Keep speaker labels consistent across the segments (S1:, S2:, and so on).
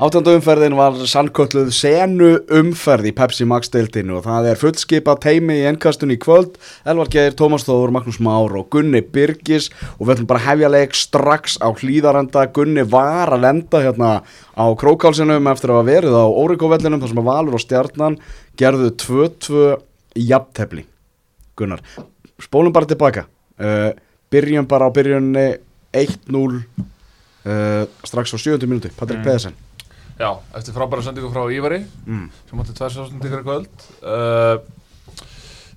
S1: Átjönda umferðin var sannkölluð senu umferð í Pepsi Max deildinu og það er fullskipa teimi í ennkastun í kvöld Elvar Geir, Tómas Þóður, Magnús Már og Gunni Birgis og við ætlum bara að hefja leik strax á hlýðarenda Gunni var að lenda hérna á krókálsinum eftir að hafa verið á Órikóvellinum þar sem að Valur og Stjarnan gerðu 2-2 jafntefli Gunnar, spólum bara tilbaka uh, byrjum bara á byrjunni 1-0 uh, strax á 7. minúti, Patrik
S2: Mm.
S1: Pedersen
S2: Já, eftir frábæra sendingu frá Ívari
S1: Mm.
S2: sem átti tvær sásundið fyrir kvöld uh,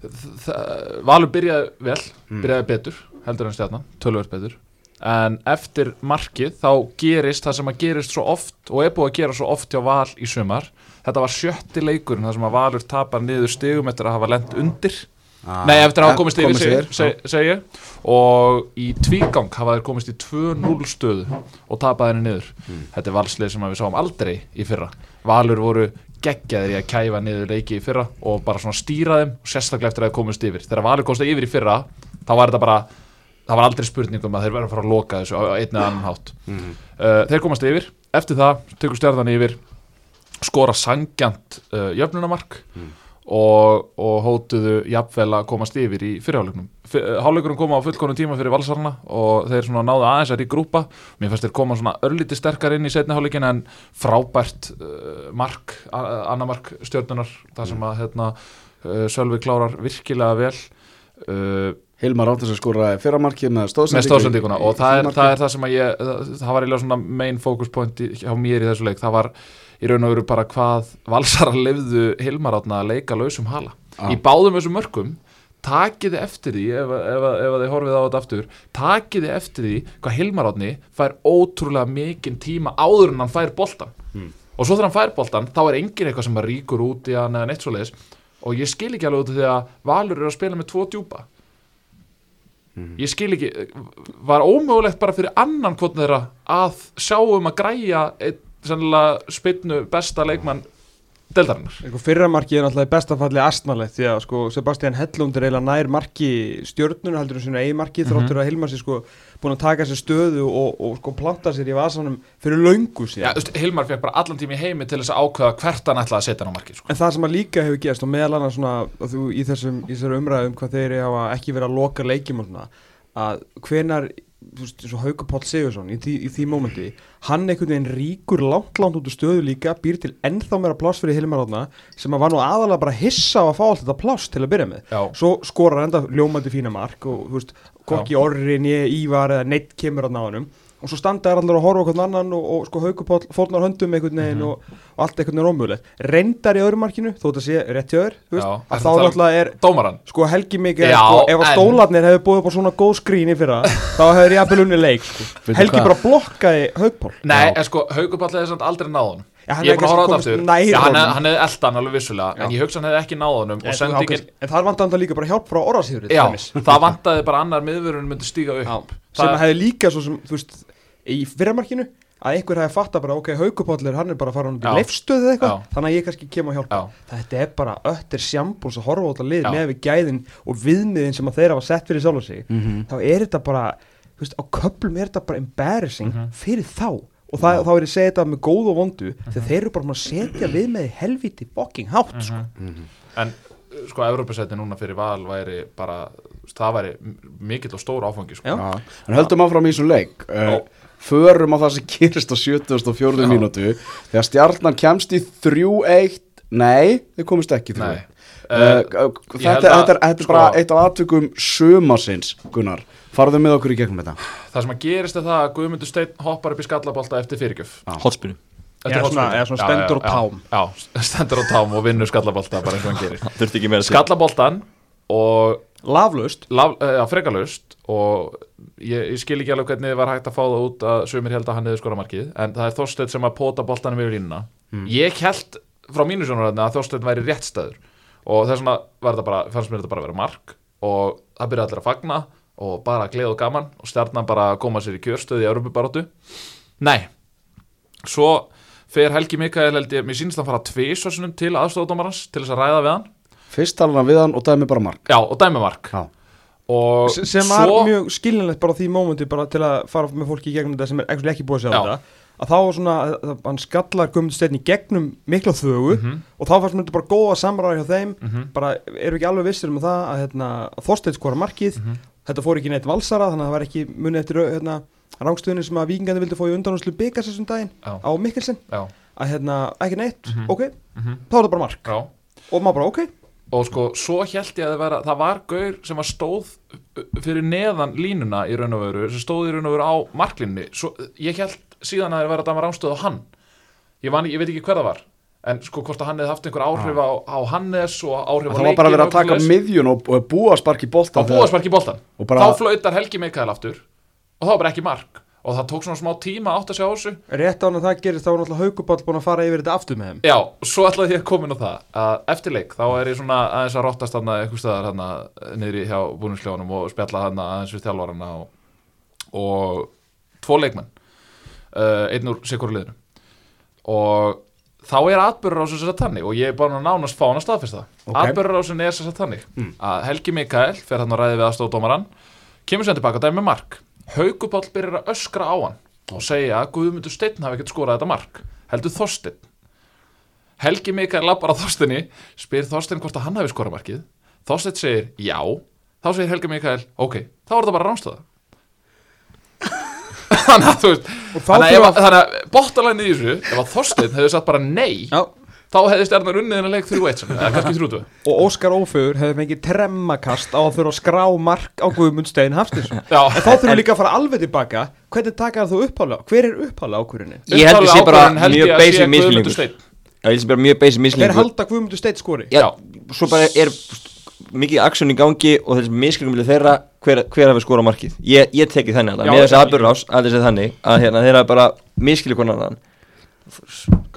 S2: þ- þ- Valur byrjaði vel,
S1: Mm.
S2: byrjaði betur heldur en stjarnan, tölvöld betur en eftir markið þá gerist það sem að gerist svo oft og er búið að gera svo oft hjá Val í sumar þetta var sjötti leikurinn þar sem að Valur tapar niður stigum eftir að hafa lent undir
S1: Ah,
S2: Nei, eftir að hafa komist yfir,
S1: komist
S2: segir,
S1: já.
S2: seg, segir og í tvígang hafa þeir komist í 2-0 stöðu og tapaði henni niður
S1: Hmm.
S2: Þetta er valslið sem að við sáum aldrei í fyrra Valur voru geggjaðir í að kæfa niður leiki í fyrra og bara svona stýra þeim og sérstaklega eftir að þeir komist yfir Þegar Valur komst yfir í fyrra þá var þetta bara það var aldrei spurning um að þeir verða að fara að loka þessu á á einn eða annan hátt
S1: Mhm.
S2: uh, Þeir komast yfir, eftir það tökur stjarnan yfir skora sangjant uh, jöfnunamark og, og hótuðu jafnvel að komast yfir í fyrirháleikunum. Háleikunum koma á fullkonu tíma fyrir valsarna og þeir svona náðu aðeins að rígrúpa. Mér fannst þeir koma svona örlíti sterkar inn í setni háleikin en frábært uh, mark, a- annar mark stjórnunar, þar sem að hérna, uh, Sölvi klárar virkilega vel. Uh,
S1: Hilmar Átnes að skora fyrramarkið með
S2: með
S1: stóðsendingu
S2: stóðsendinguna og það er, það er það sem að ég það, það var eiginlega svona main focus point í, hjá mér í þessu leik, það var í raun og veru bara hvað valsara lefðu Hilmar átna að leika lausum hala
S1: Ah.
S2: í báðum þessum mörkum takiði eftir því, ef, ef, ef þið horfið á þetta aftur, takiði eftir því hvað Hilmar átni fær ótrúlega mikinn tíma áður en hann fær boltan og svo þegar hann fær boltan þá er engin eitthvað sem að ríkur út í hann eða neitt svo og ég skil ekki alveg út af því að Valur eru að spila með tvo djúpa ég skil ekki var ómögulegt bara fyrir annan kvotn þeirra að sjáum að græja einn sennilega spilnu besta leikmann deldarinnar
S3: Sko, fyrra markið er náttúrulega í besta falli astnalegt því að sko, Sebastian Hellund er eiginlega nær marki stjörnun heldur en sinna eigi marki þróttur að Hilmar sér sko búin að taka sér stöðu og, og sko planta sér í vasanum fyrir löngu
S2: ja,
S3: síðan.
S2: þú veist, Hilmar fekk bara allan tími heimi til þess að ákveða hvert hann ætlaði að setja hann á markið sko.
S3: En það sem að líka hefur gerst og meðal annars svona að þú í þessum, í þessum umræðum hvað þeir hafa ekki verið að loka leikjum og svona að hvenar, þú veist, eins og Haukur Páll Sigursson í því, í því mómenti, hann einhvern veginn ríkur langt langt út úr stöðu líka, býr til ennþá meira pláss fyrir Hilmar Átna sem að var nú aðalega bara hissa á að fá allt þetta pláss til að byrja með.
S2: Já.
S3: Svo skorar enda ljómandi fína mark og þú veist, kokki orri, nýja ívar eða neitt kemur á náðunum og svo standa er allir að horfa okkur annan og, og sko haugupáll fórnar höndum einhvern veginn
S2: Mhm.
S3: og, og allt einhvern veginn ómögulegt reyndar í öðrumarkinu, þó þetta sé rétt hjá þér þú veist,
S2: Já, ertu að
S3: að þá
S2: tala um-
S3: náttúrulega er
S2: Dómaran
S3: sko helgi mikið
S2: Já,
S3: sko, ef að
S2: en-
S3: stólarnir hefur búið upp á svona góð skrín í fyrra þá hefur ég að belunni leik sko.
S1: Veitu
S3: helgi
S1: hvað?
S3: bara blokkaði haugpál
S2: Nei, en sko, Haugupall hefði samt aldrei náð honum
S3: Já, hann
S2: Ég er
S3: hefði
S2: búin að horfa á þetta aftur
S3: kannski komist nær
S2: Já, hann
S3: honum.
S2: hefði- hann hefði eldan alveg vissulega En
S3: Já.
S2: ég hugsa hann hefði ekki náð honum Og sendingin
S3: en það vantar þetta líka bara hjálp frá orðasýður
S2: Já, það vantaði bara annar miðvörun myndi stíga upp
S3: sem
S2: Það-
S3: hefði líka svo sem, þú veist, í fyrramarkinu að einhver hefði fatta bara, ok, haugupállur hann er bara að fara hann út
S2: Já.
S3: í leifstöðu eða eitthvað
S2: Já.
S3: þannig að ég kannski kem að hjálpa
S2: Já.
S3: þetta er bara öttir sjambúls að horfa á þetta lið
S2: Já.
S3: með við gæðin og viðmiðin sem að þeir hafa sett fyrir sjálf og sig
S1: Mhm.
S3: þá er þetta bara, þú veist, á köplum er þetta bara embarrassing
S2: Mhm.
S3: fyrir þá og það, þá er ég að segja þetta með góð og vondu
S2: Mhm.
S3: þegar þeir eru bara búin að setja við með helviti fucking hátt, sko
S2: En uh, sko, Evropasæti núna fyrir val væri bara, það væri m- mikill og stór áfangi sko.
S3: Já.
S1: Já, en höldum áfram í þessum leik uh, Förum á það sem gerist á 74. mínútu Þegar stjarnan kemst í 3-1 Nei, þau komist ekki í 3-1
S2: Nei.
S1: Uh,
S2: Eh,
S1: þetta,
S2: ég held
S1: þetta,
S2: að-
S1: er, þetta er bara
S2: sko-
S1: eitt af atvikum sumasins, Gunnar Farðu með okkur í gegnum þetta
S2: Það sem að gerist er það að Guðmundur Steinn hoppar upp í skallabólta eftir fyrirgjöf
S4: Hotspinu
S2: Eftir
S3: Eða svona-
S2: hornspyrnu.
S3: eða svona
S2: Já,
S3: stendur
S2: já,
S3: á tám.
S2: Já, já, stendur á tám og vinnur skallabólta bara eins og hann gerir
S4: Þurfti ekki meira að segja
S2: Skallabóltan og
S3: laflaust
S2: laf, eh, frekalust og ég, ég skil ekki alveg hvernig þið var hægt að fá það út að sömur held að hann hefði skora markið en það er Þorsteinn sem að póta boltanum yfir línuna
S3: Hmm.
S2: ég held frá mínu sjónaröðna að Þorsteinn væri réttstæður og þess vegna var þetta bara, fannst mér þetta bara að vera mark og það byrja allir að fagna og bara gleð og gaman og stjarnan bara að koma sér í kjörstöði í Európubaróttu nei, svo fer Helgi Mikael held ég, mér sýnist hann fara tvisvarsunum til aðstofdómarans til þess að ræða við hann
S1: Fyrst talar hann við hann og dæmi bara mark
S2: já, og dæmi mark
S1: Já,
S2: og
S3: S- sem var
S2: svo
S3: mjög skiljanlegt bara á því mómenti bara til að fara með fólki í gegnum þetta sem er actually ekki búið að sjá
S2: Já.
S3: þetta að þá var svona, að- að hann skallar gummundsteinn í gegnum mikla þögu
S2: Mhm,
S3: og þá fannst mér þetta bara góða samræða hjá þeim
S2: mhm,
S3: bara eru ekki alveg vissir um það að, hérna, að Þorsteinn skora markið
S2: mhm.
S3: þetta fór ekki neitt valsara þannig að það var ekki munið eftir hérna, rángstöðinu sem að vikingandi vildi fá í undanúslu byggas þessum daginn
S2: Já.
S3: á Mikkelsen
S2: Já,
S3: að hérna ekki neitt,
S2: Mhm.
S3: ok,
S2: mhm,
S3: þá er það bara mark
S2: já
S3: og maður bara ok,
S2: og sko, svo held ég að það vera það var gaur sem að stóð uh, fyrir neðan línuna í raun og veru sem stóð í raun og veru á marklinni svo, ég held síðan að það vera að dama rámstöð á hann ég, man, ég veit ekki hver það var en sko, hvort að hann hefði haft einhver áhrif á, á Hannes og áhrif á
S1: Ah. Það var bara
S2: leikinn
S1: verið
S2: og
S1: að taka
S2: svoleiðis.
S1: miðjun og, og búa sparki
S2: á
S1: bolta þegar-
S2: búasparki boltan
S1: Og bara-
S2: þá flautar Helgi Mikael aftur og þá var bara ekki mark og það tók svona smá tíma átt að sjá þessu
S3: rétt án að það gerist þá var náttúrulega hauguball búin að fara yfir þetta aftur með þeim
S2: já, svo ætlaði ég að koma inn á það að eftir leik þá er ég svona aðeins að rottast hann eitthvað staðar hann niðri hjá búninsljónum og spjalla hann aðeins við þjálfarana og, og tvo leikmenn uh, einn úr sikur liðinu og þá er atbyrður á sem sagt þannig og ég er bara að nánast fá hann að staðfesta
S1: Ok.
S2: okay. atbyrður á sem er sem sagt þannig
S3: Hmm.
S2: að Helgi Mikael fer hann að ræði við aðstofdómaran kemur sem tilbaka dæmi með mark Haukupáll byrjar að öskra á hann og segja að Guðmundur Steinn hafi ekkert skorað þetta mark heldur Þorsteinn Helgi Mikael labbar á Þorsteinni spyr Þorsteinn hvort að hann hafi skorað markið Þorsteinn segir já þá segir Helgi Mikael ok, þá er það bara ránstöða þannig að þú veist
S3: og þá
S2: þannig að,
S3: fyrir
S2: ef
S3: að
S2: að, þannig að bóttalæni í þessu ef að Þorsteinn hefði sagt bara nei
S3: Já,
S2: þá hefði stjarnar unnið hennar leik 3-1 sem- eða kannski 3-2
S3: og Óskar Óföður hefði fengið tremmakast á að þurfa að skrá mark á Guðmund Stein Hafstinsson
S2: já,
S3: Þá þurfum við líka að fara alveg tilbaka Hvernig taka þú upphála? Hver er upphála ákvörðinni?
S4: Ég held að sé bara
S2: Uppálega ákvörðun held ég að sé
S4: mjög basic
S2: Guðmundur
S4: mislingur
S2: Steinn.
S4: Já, ég held að sé bara mjög basic
S3: Þeir
S4: mislingur
S3: halda Guðmundur Stein skori
S4: Já, svo bara er mikið aksjón í gangi og þessi misklingum vilja þeirra hver, hver hafi skorað markið ég, ég tekið þannig að
S2: Já,
S4: það, með þessi
S2: já,
S4: aðbjörrás að þessi þannig að hérna, þeirra bara miskilja konan annan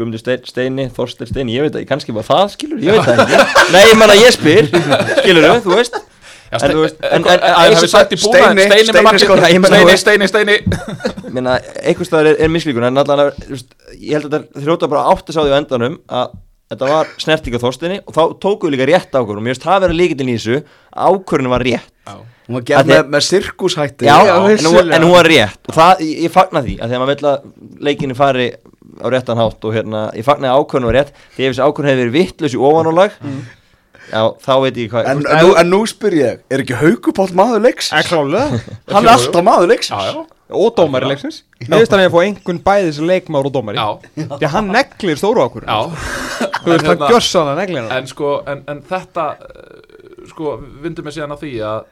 S4: Guðmundur Stein, Steini, Þorstein Steini, ég veit það, kannski bara það skilur, ég veit það ekki Nei, ég manna, ég spyr, skilur þú veist
S2: Já,
S4: En þú veist, en- en- en-
S2: að ég hefði
S4: en-
S2: sagt í búna
S1: Steini,
S2: Steini með
S1: Steini
S2: markið,
S1: skoraði.
S4: Ég meina, þú
S2: Steini,
S4: veist-
S2: Steini, Steini
S4: Meina, einhvers staðar er, er miskilíkun en allan að, þú veist, ég held að þetta þrjóta bara átt að sá því á endanum að þetta var snerting á þorstinni og þá tókuðu líka rétt ákvörðum, ég veist það verið líkitinn í þessu ákvörðunum var rétt
S1: Hún var gerð
S4: Að
S1: með,
S4: þið-
S1: með sirkushætti
S4: já, en, hún, en hún var rétt og það, ég, ég fagna því, að þegar maður vill að leikinu fari á réttan hátt og hérna, ég fagnaði ákvörðunum var rétt því ef þessi ákvörðun hefði verið vittlösi ofanálag já, þá veit ég hvað
S1: En, en, nú, en nú spyr ég, er ekki haugupátt maður leiks?
S3: Er klálega
S1: Hann er alltaf maður leiks
S2: já, já,
S3: Og dómari leiksins Mér finnst hann að ég fá einhvern bæðis leikmár og dómari
S2: já,
S3: Því að hann neglir stóru ákvörðin
S2: já hérna,
S3: Þú veist, hann gjössan að neglir hann
S2: en sko, en, en þetta eh, sko, vindur mig síðan að því að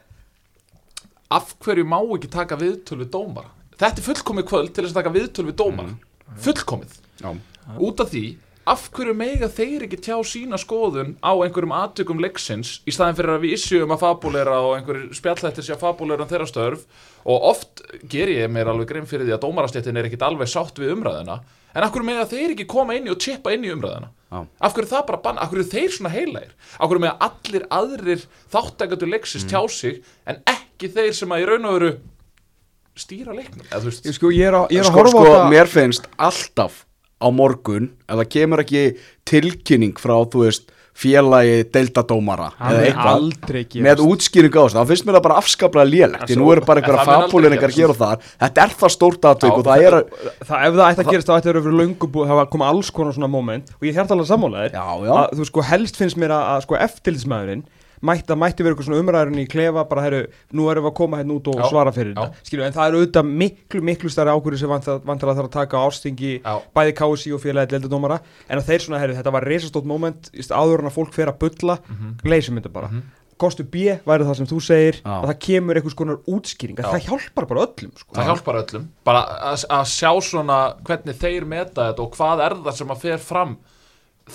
S2: af hverju má ekki taka viðtöl við dómara þetta er fullkomið kvöld til þess að taka viðtöl við
S4: Mm.
S2: dómara fullkomið
S1: Já.
S2: út af því af hverju mega þeir ekki tjá sína skoðun á einhverjum aðtökum leiksins í staðin fyrir að við issjum að fabulera og einhverjir spjallættir sé að fabulera um þeirra störf og oft ger ég mér alveg grein fyrir því að dómarastéttin er ekkit alveg sátt við umræðina en af hverju mega þeir ekki koma inn í og tippa inn í umræðina
S1: Já.
S2: af hverju er það bara bann, af hverju eru þeir svona heilægir af hverju með allir aðrir þáttækjöndur leiksins tjá sig en ekki þeir sem að í raun og veru stýra leiknum eða þú veist,
S3: Ég sko, ég er að, ég er að
S1: sko,
S3: horfa
S1: sko,
S3: á það
S1: mér finnst alltaf á morgun ef það kemur ekki tilkynning frá, þú veist, félagi deildadómara
S3: Hann
S1: eða
S3: er
S1: eitthvað
S3: aldrei gerast.
S1: með útskýringu á þessu, þá finnst mér það bara afskaplega lélegt því nú eru bara
S2: en
S1: einhverja
S2: það mun aldrei
S1: fabuleringar
S2: gerast.
S1: hér og þar þetta er það stórt aðtök
S2: Já,
S1: og það er að
S3: það, ef það ætti að gerast þá ætti að vera fyrir löngu búið það var að koma alls konar svona moment og ég hértalega sammálaðir
S1: Já, já.
S3: að þú sko helst finnst mér að, að sko eftirlitsmaðurinn mætti, það mætti vera eitthvað svona umræðurinn í klefa bara herru, nú erum við að koma hérna út
S2: Já,
S3: og svara fyrir
S2: já.
S3: þetta skilu, en það eru auðvitað miklu, miklu stærri ákvörðu sem vantilega þarf að taka á ástingi
S2: Já.
S3: bæði KSI og félagið deildadómara en að þeir svona, herru, þetta var reysastótt moment just áður en að fólk fer að bulla
S2: Mhm.
S3: leysum þetta bara Kostu B væri það sem þú segir
S1: Já.
S3: að það kemur einhvers konar útskýring að
S2: Já.
S3: það hjálpar bara öllum sko.
S2: það hjálpar öllum bara að, að sjá svona hvernig þeir meta þetta og hvað er það sem að fer fram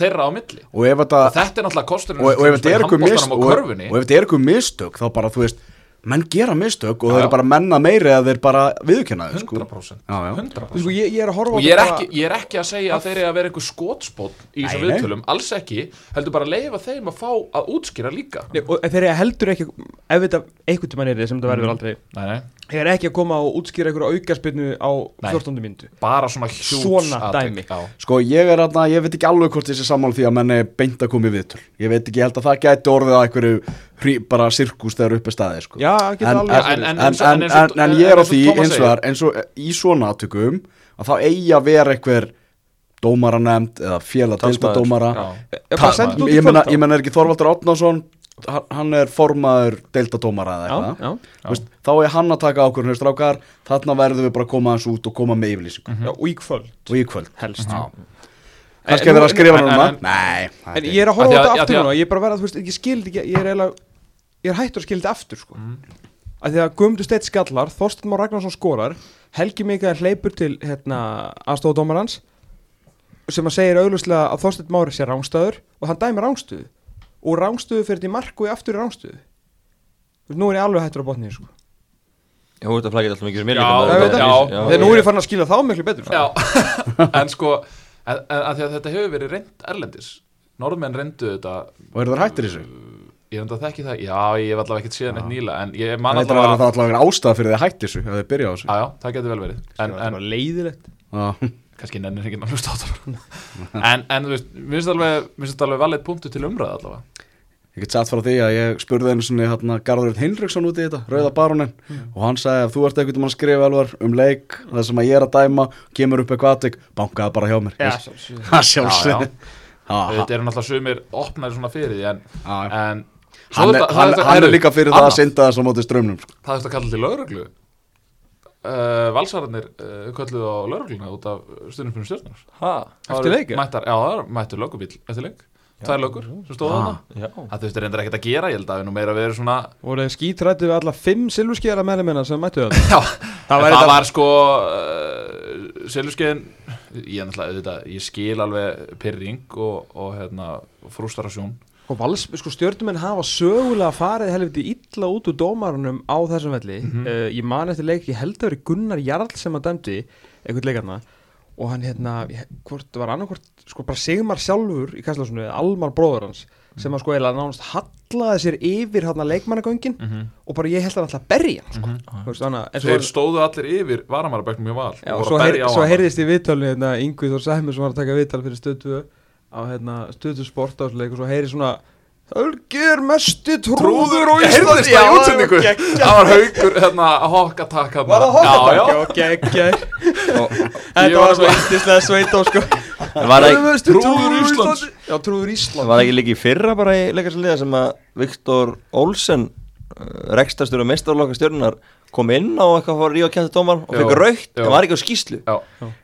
S2: þeirra á milli
S1: og ef þetta
S2: og þetta er náttúrulega kosturinn
S1: og, og ef þetta er eitthvað mist,
S2: mist
S1: og, og ef þetta er eitthvað mistök þá bara, þú veist, menn gera mistök og
S2: Já,
S1: það
S2: já.
S1: eru bara menna meiri að þeir bara viðurkenna þau, sko
S2: 100%,
S1: Já, já.
S2: 100%.
S3: Sko, ég, ég er að horfa á
S2: og ég er,
S3: þetta bara-
S2: ekki, ég er ekki að segja að þeir eru að vera einhver skotspót í þessum
S1: Nei, nei.
S2: viðtölum, alls ekki heldur bara að leifa þeim að fá að útskýra líka Mhm.
S3: Nei, og þeir eru heldur ekki ef þetta einhvern tímann er þið sem þetta verður aldrei
S2: nei, nei.
S3: er ekki að koma og útskýra einhverja aukarspinnu á
S2: Nei.
S3: 14. myndu
S2: bara svona hjúts
S3: Svona dæmi.
S1: Sko ég er aðna, ég veit ekki alveg hvort þessi sammál því að menn er beint að koma í viðtöl Ég veit ekki, ég held að það gæti orðið að einhverju hrí, bara sirkus þegar upp er staðið sko.
S3: Já, það getur
S1: en,
S3: alveg
S1: en,
S3: verið.
S1: en, en, en,
S2: En- en-
S1: en,
S2: en- en- en-
S1: ég
S2: en-
S1: er á
S2: eins og
S1: því
S2: Tómas
S1: eins vegar eins og í svona aðtökum að þá eigi að vera einhver dómara nefnd eða félag
S4: Talsmaður.
S1: deildadómara
S3: Já, bara sendu þetta út í
S1: ég meina,
S3: kvöld þá.
S1: ég meina er ekki Þorvaldur Átnason hann er formaður deildadómara eða
S3: Já,
S1: eitthvað
S3: já.
S1: Þú veist, þá er hann að taka ákvörðun hér strákar þarna verðum við bara að koma hans út og koma með yfirlýsingu
S3: Já, og í kvöld
S1: og í kvöld
S3: Mm. helst
S1: Mhm.
S3: Mm.
S1: kannski að vera að skrifa
S2: en-
S1: núna
S2: en-
S1: nei, það
S3: En ég er að horfa
S2: Af
S3: á
S2: því að-
S3: þetta
S2: af því
S3: aftur
S2: að-
S3: núna, ég er bara að vera, þú veist, ég skil þetta ekki, ég er eiginlega, ég er hættur að skil þetta aftur, sko.
S2: Mm.
S3: Af því að Guðmundur Steinn skallar, Þorstein Már Ragnarsson skorar, Helgi Mikael hleypur til, hérna, aðstofadómarans, sem að segir auglustlega að Þorstein Már sé rángstöður og hann dæmi rángstöðu. Og rángstöðu fyrir til mark og í aftur í rángstöðu. Þú veist, nú er ég alveg hættur á botnið, sko.
S4: Jú, þetta flaggið alltaf mikið sem
S2: Já,
S4: mér líka
S2: já,
S4: maður, þetta
S2: já.
S4: er-
S3: Þegar nú er ég fann að skila þá miklu betur. sko.
S2: Já, en sko en, en, að því að þetta hefur verið reynd erlendis Norðmenn reyndu þetta
S1: og eru það hættir þessu?
S2: Ég reynda að þekki það, já ég hef allavega ekkert síðan eitt nýla En ég man
S1: Það er
S2: allavega
S1: allavega allavega ástæða fyrir því að hætti þessu ef þið byrja á þessu
S2: Já, já, það getur vel verið En, en
S3: leiðilegt.
S1: Já.
S2: kannski nennir ekki að hlusta á það En, en þú veist, mér finnst alveg, mér finnst alveg valið punktu til umræða allavega
S1: Ég get satt frá því að ég spurði einu svona hérna, Garður Hinriksson út í þetta, Rauða barónin
S3: Mm.
S1: og hann sagði að þú ert ekkert um að skrifa alvar um leik, það sem að ég er að dæma kemur upp eitthvað aðtik, bankaði bara hjá mér
S3: Já,
S1: Ég-
S3: sjálfsögðu.
S1: Ha, sjálfsögðu
S2: Já,
S1: Ha, ha.
S2: Þetta eru náttúrulega sumir opnari svona fyrir því En,
S1: Já, já.
S2: en svo
S1: Hann er-
S2: þetta- það
S1: hann-
S2: þetta-
S1: hann er
S2: heyrðu,
S1: líka fyrir það að
S2: annað.
S1: synda þess að móti strömmnum sko.
S2: Það þurfti að kalla til lauruglu uh, Valsararnir uh, kölluðu á laurugluna út af stundumfjörnum stjórnar
S4: Ha?
S3: Eftir
S2: Það eru
S3: leik, ja?
S2: Mættar, já, það eru- mættu lögubíl eftir leik Tvær lögur sem stóðu þarna
S4: Já.
S2: Það þurfti reyndar ekkert að gera, ég held að við nú meira verið svona
S3: Voru þeir skítrættu við alla fimm silfurskjæra meðlumina sem mættu þetta?
S2: Já,
S3: Það
S2: það,
S3: var
S2: var, það
S3: þetta-
S2: var sko uh, Siljuskeiðin ég, náttúrulega, auðvitað, ég skil alveg pyrring og, og hérna, frustrasjón
S3: Sko, vals, sko stjörnumenn hafa sögulega farið helviti illa út úr dómarunum á þessum velli uh, ég man eftir leik, ég held að veri Gunnar Jarl sem að dæmdi einhvern leikarna og hann hérna, ég- hvort það var annarkvort sko bara Sigmar sjálfur í Kastlásunu eða Almar bróður hans sem að sko eða nánast hallaði sér yfir hérna leikmannagöngin og bara ég held að hann ætla að berja hann sko Þú veist, þannig að- en svo-
S2: Þeir stóðu allir yfir varamarabæknum í val
S3: Já,
S2: og
S3: og
S2: voru
S3: svo,
S2: að
S3: heyr,
S2: berja á
S3: svo
S2: hann.
S3: heyrðist í viðtalinu hérna, Yngvi Þór Sæmi sem var að taka viðtal fyrir stöðtu á hérna, stöðtu sportásleik og svo heyri svona Hölgir mesti trúður og
S2: Heyrðist það í útsendingu Það var haukur, hérna, hokkatak Var það Já, já,
S3: Gekkjær
S2: Ég
S3: Þetta
S2: var
S3: var svo yndislega sveit á sko
S4: Var það ekki-
S3: Hölgir mesti
S2: Trúður
S3: á
S2: Íslands.
S3: Íslandi. Já, trúður
S4: Var
S3: Ísland
S4: það ekki líka í fyrra bara í leikarsanlega sem að Viktor Olsen rekstastur og mestarlokka stjörnunar kom inn á eitthvað að fara í og kæta dómar og
S2: Jú.
S4: fekk raukt,
S2: Jú.
S4: það var ekki á skýslu
S2: já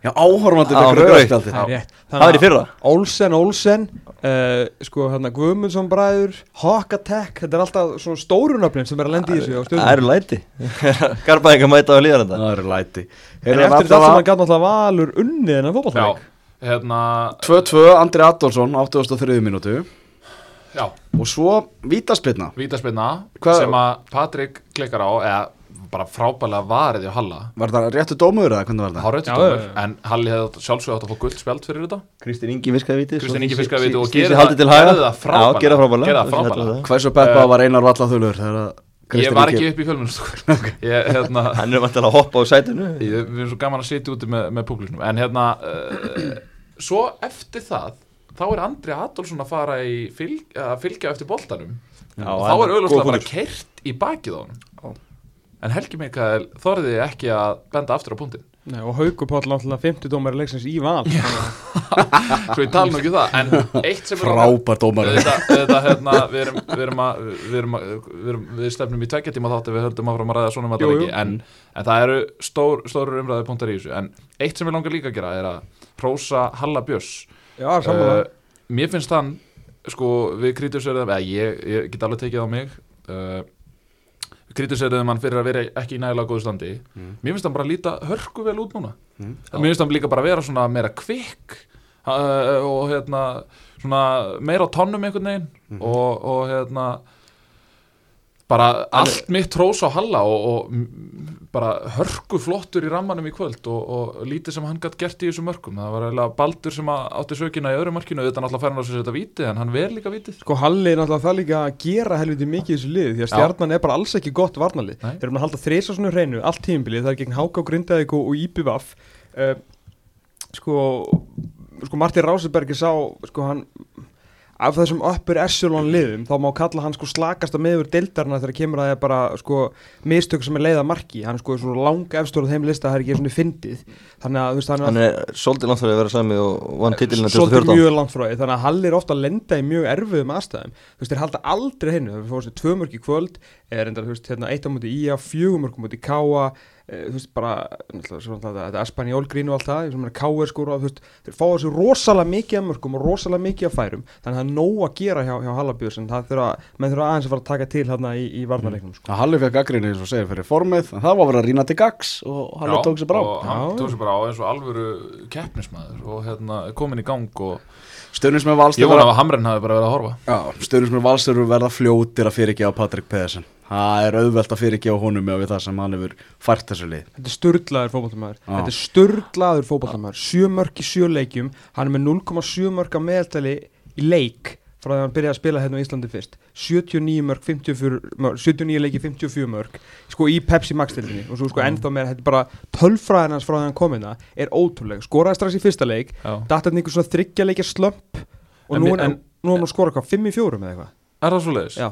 S1: Já, áhorfandi
S4: Á,
S1: fekk
S4: rautt.
S1: rauðt aldrei
S2: Já.
S3: Rétt.
S4: Það var í fyrra
S3: Olsen, Olsen uh, sko hérna Guðmundsson bræður Hawk Attack, þetta er alltaf svona stórunöfnin sem er að lenda í þessu á
S4: Það
S3: stöðum
S4: eru læti Garbaðingar mæta á líðarenda
S1: Það eru læti
S3: En
S1: Heyrðu,
S3: eftir þetta
S1: allavega-
S3: sem hann gæti náttúrulega valur unnið en að
S2: Já,
S3: fótballtæk
S2: hérna
S1: 2-2, Andri Adolfsson, 83 mínútu
S2: Já,
S1: og svo vítaspilna
S2: vítaspirna
S1: Hvað-
S2: sem að Patrik klikkar á eða bara frábælega varið í Halla
S1: Var það réttu dómur eða hvernig var það?
S2: Háröndi
S3: Já,
S2: dómur,
S3: já, já.
S2: en Halli hefði sjálfsög átt að fá guld spjald fyrir þetta
S4: Kristinn Ingi fiskaði viti
S2: Kristján Ingi fiskaði viti og
S4: gerði
S2: gerði
S4: það
S2: það,
S4: til
S2: gerði
S4: haga
S2: það frábæla
S4: Já, gerði það frábæla
S2: gerði það frábæla
S1: Hversu peppa var Einar Vallathulur þegar að
S2: ég
S1: Kristinn
S2: var
S1: Ingi-
S2: ekki upp í fjölmunum ég, hérna,
S4: Hann er vantilega að hoppa á sætinu
S2: ég, við erum svo gaman að sitja úti með, með públiknum en hérna uh, svo eftir það þá er Andri Adolfsson að fara í fylg, að fylgja eftir boltanum
S1: Já,
S2: og
S1: en-
S2: þá er
S1: góð
S2: auðvitað bara
S1: punktur.
S2: kert í bakið á hann en Helgi Mikael þorði ekki að benda aftur á punktin
S3: Nei, og Haukur Páll náttúrulega 50 dómar leiksins í val
S2: svo ég tala nú ekki um það en eitt sem er
S1: frábær dómar
S2: þetta, þetta hérna, við erum, við erum að við, erum að, við, erum, við stefnum í tveggja tíma þátti við höldum áfram að ræða svona um
S3: Jú,
S2: þetta
S3: jú.
S2: ekki en, en það eru stór, stóru umræðu punktar í þessu en eitt sem ég langar líka að gera er að Rósa Halla Björs
S3: Já, sammála
S2: mér finnst hann sko, við kritisöruðum, eða ég, ég get alveg tekið á mig uh, við kritisöruðum hann fyrir að vera ekki í nægilega góðu standi
S3: Mm.
S2: mér finnst hann bara líta hörku vel út núna mér finnst hann líka bara vera svona meira kvikk uh, og hérna svona meira á tónnum einhvern veginn og, og hérna bara allt mitt hrós á Halla og, og m- bara hörku flottur í rammanum í kvöld og, og lítið sem hann gætt gert í þessum mörkum það var eiginlega Baldur sem að- átti sökina í öðru markinu auðvitað náttúrulega fær hann á sig þetta vítið en hann ver líka vítið
S3: Sko Halli er náttúrulega það líka að gera helviti mikið í þessu liði því að
S2: Já.
S3: stjarnan er bara alls ekki gott varnalið
S2: Nei.
S3: Þeir eru búin að halda þreysa svona hreinu, allt tímabilið, það er gegn Háka og Grindavík og, og IPVAF uh, Sko, sko Martin Rásebergi sá, sko hann af þessum uppur Essulon liðum þá má kalla hann sko slakasta meður deildarna þegar kemur að það er bara sko mistök sem er leiða marki, hann sko er svona langa efstur á þeim lista, það er ekki svona fyndið þannig að þú veist hann
S4: Hann er svolítið langt fyrir að vera sami og vann titilina
S3: svolítið
S4: 2014
S3: mjög langt frá því þannig að Halli er ofta að lenda í mjög erfiðum aðstæðum þú veist, þeir halda aldrei hennu það fór sér tvö mörg í kvöld er enda, þú veist, hérna eitt á móti IA, fjögur mörg á móti KA e, þú veist, bara náttúrulega, svo náttúrulega þetta Espanjól grín og allt það ég sem er KA skóra, þú veist, þeir fá þessu rosalega mikið af mörgum og rosalega mikið af færum þannig að það er nóg að gera hjá, hjá Hallabjörns en það þurfa, menn þurfa aðeins að fara að taka til hérna í, í varnarleiknum, sko.
S1: að Halli fekk gaggrinni eins og segir fyrir formið en það var verið að rýna til gags og Halli tók sér brá
S2: og hann
S3: Já.
S2: tók sér bara á eins og alvöru keppnismæður og hérna komin í gang og
S1: Stöðnismenn Vals
S2: ég vona að Hamren hafi bara verið að horfa
S1: Stöðnismenn Vals eru verða fljótir að fyrirgefa Patrik Pedersen það er auðvelt að fyrirgefa honum með það sem hann hefur fært þessu lið
S3: Þetta er störlaður fótballtamaður Þetta er störlaður fótballtamaður Sjö mörk í sjö leikjum Hann er með 0,7 mörk að meðaltali í leik frá því að hann byrjaði að spila hérna á Íslandi fyrst 79 mörk, 54 mörk 79 leiki, 54 mörk sko í Pepsi Max-delinni og svo sko ennþá meira þetta er bara tölfræðin hans frá því að hann kom hérna er ótrúleg, skoraði strax í fyrsta leik
S2: Já.
S3: datt hann einhver svona þryggja leikja slömp og
S2: En
S3: nú
S2: mér-
S3: er
S2: en-
S3: hann nú er hann að skora hvað, 5 í 4 með eitthvað
S2: er það svo leiðis?
S3: Já.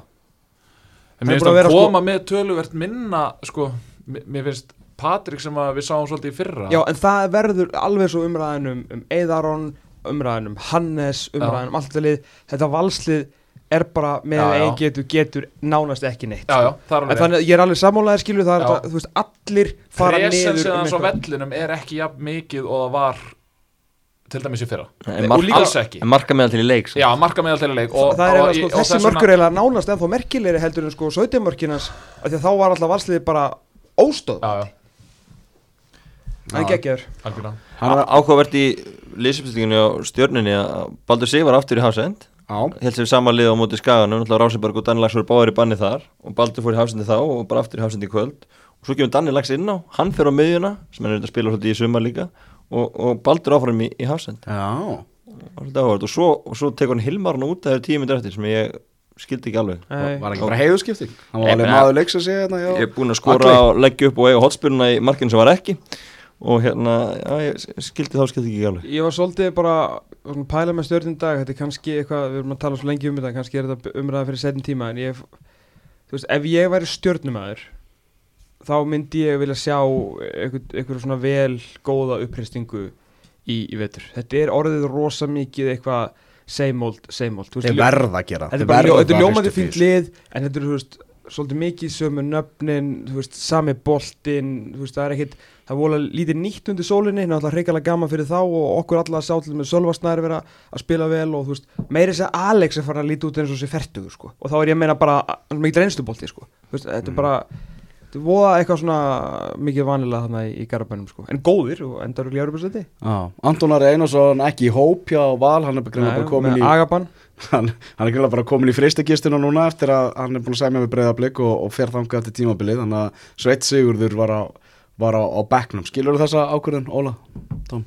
S2: En mér
S3: Hann er
S2: finnst
S3: búin að
S2: að
S3: vera, sko
S2: koma með töluvert minna sko, mér mér finnst Patrik sem að við sáum svolítið í fyrra
S3: Já, en það verður alveg svo umræðan um, um Eðarón, umræðan um Hannes, umræðan um allt það lið, þetta valslið er bara með
S2: Já,
S3: að
S2: já.
S3: ein getur, getur nánast ekki neitt.
S2: já, já, það er
S3: En
S2: alveg
S3: þannig að ég er alveg sammálaðið skilur það er
S2: Já.
S3: þetta, þú veist, allir fara niður um
S2: Presensin hans á
S3: eitthvað.
S2: vellinum er ekki jafn mikið og það var til dæmis í fyrra
S4: En
S3: Og líka-
S4: marka,
S2: alls ekki,
S4: en marka meðal til í leik sko.
S2: já, marka meðal til leik og,
S3: það er
S2: og,
S3: eiginlega, sko,
S2: og
S3: þessi
S2: þess vegna-
S3: mörkur er eiginlega nánast ennþá merkilegri heldur en sko 17 mörkinans af því að þá var alltaf valsliði bara óstóð,
S2: já, já,
S3: það er geggjör
S2: algjörlega
S1: hann,
S4: Ákvaðvert í liðsupstillingunni á stjörnunni að Baldur Sig var aftur í Hafsend
S1: á,
S4: held sér sama lið á móti skaganum náttúrulega Ráseberg og Danni Lags voru báðir í banni þar og Baldur fór í Hafsendi þá og bara aftur í Hafsendi í kvöld og svo kemur Danni Lags inn á, hann fer á miðjuna sem hann er auðvitað að spila svolítið í sumar líka og, og Baldur áfram í, í Hafsend
S1: já,
S4: og svo, og svo tekur hann Hilmarna út að það eru tíu myndir eftir sem ég skildi ekki alveg
S1: var ekki bara heiðuskipting hann var
S4: Nei,
S1: alveg
S4: bara-
S1: maður leiks að segja hérna
S4: ég
S1: já.
S4: er búinn að skora og leggja upp og eiga hotspiluna í markinu sem var ekki og hérna, já, ég skildi þá skildi ekki alveg
S3: Ég var svolítið bara svona, pæla með stjórnum dag, þetta er kannski eitthvað, við erum að tala svo lengi um þetta, kannski er þetta umræða fyrir setjum tíma, en ég, þú veist, ef ég væri stjórnumæður, þá myndi ég vilja sjá einhver, einhver svona vel góða uppristingu í, í vetur. Þetta er orðið rosa mikið eitthvað same old, same old. Þú veist,
S1: þeir
S3: ljó-
S1: verða að gera
S3: Þetta
S1: Þeir
S3: er bara
S1: verða
S3: ljó, þetta er
S1: að
S3: ljómandi
S1: hristu
S3: fínt
S1: fyrir.
S3: lið, en þetta er, þú veist, svolítið mikið sömu nöfnin, þú veist, sami boltinn, þú veist, það er ekkit, það vola lítið nýtt undir sólinni, náttúrulega hreikalega gaman fyrir þá og okkur alla að sátlið með Sölvastnæri vera að spila vel og þú veist, meiri þess að Alex er farin að líti út eins og sé fertugur, sko, og þá er ég að meina bara, hann er mikið reynslubolti, sko, þú veist,
S1: Mm.
S3: þetta er bara, þetta er voða eitthvað svona mikið vanilega þarna í, í garabænum, sko, en góðir og endar í Ljárubursæti,
S1: Já, Anton Ari Einarsson ekki í hóp hjá Val hann er greinlega bara komin í
S3: Agaban,
S1: hann, hann er greinlega bara komin í freystakistuna núna eftir að hann er búin að semja með breyðablík og, og fer þangað eftir tímabilið þannig að Sveit Sigurður var á, var á, á bekknum skilur þessa ákvörðun, Óla? Tom?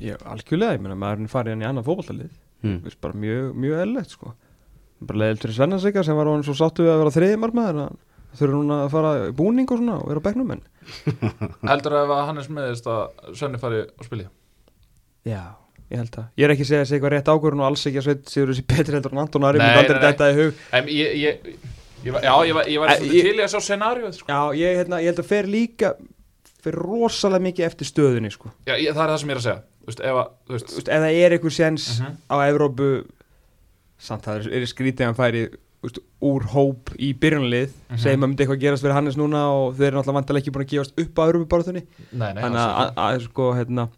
S3: ég, algjörlega, ég meina, maðurinn er farin í annað fótboltalið,
S1: Hmm.
S3: veist, bara mjög, mjög eðlilegt sko. bara leiðil til Svenna Sigga sem var hann svo sáttu við að vera þriði marmaður en þau eru núna að fara í búning og svona og vera á bekknum en
S2: heldur að ef að Hannes meðist að Svenni fari og spili
S3: já, ég held að ég er ekki að segja þessi eitthvað rétt ákvörðun og alls ekki að sveit séu þessi betri heldur en Anton Ari
S2: Nei,
S3: myndi aldrei
S2: nei, nei.
S3: þetta í hug
S2: en ég, ég, ég, var- já, ég var, ég var
S3: Æ,
S2: svolítið
S3: ég-
S2: til í að sjá scenarióð sko.
S3: já, ég, hérna, ég held að fer líka fer rosalega mikið eftir stöðunni sko.
S2: já, ég, það er það sem ég er að segja Þú veist, ef að, þú veist,
S3: Þú veist, ef það er einhver séns
S2: Mhm.
S3: á Evrópu samt það er, er skrítið að hann færi þú veist, úr hóp í byrjunlið
S2: Mhm.
S3: segjum að myndi eitthvað gerast fyrir Hannes núna og þeir eru náttúrulega vantilega ekki búin að gefast upp á Evrópu
S2: nei, nei,
S3: þannig að-
S2: alls
S3: að- að sko hérna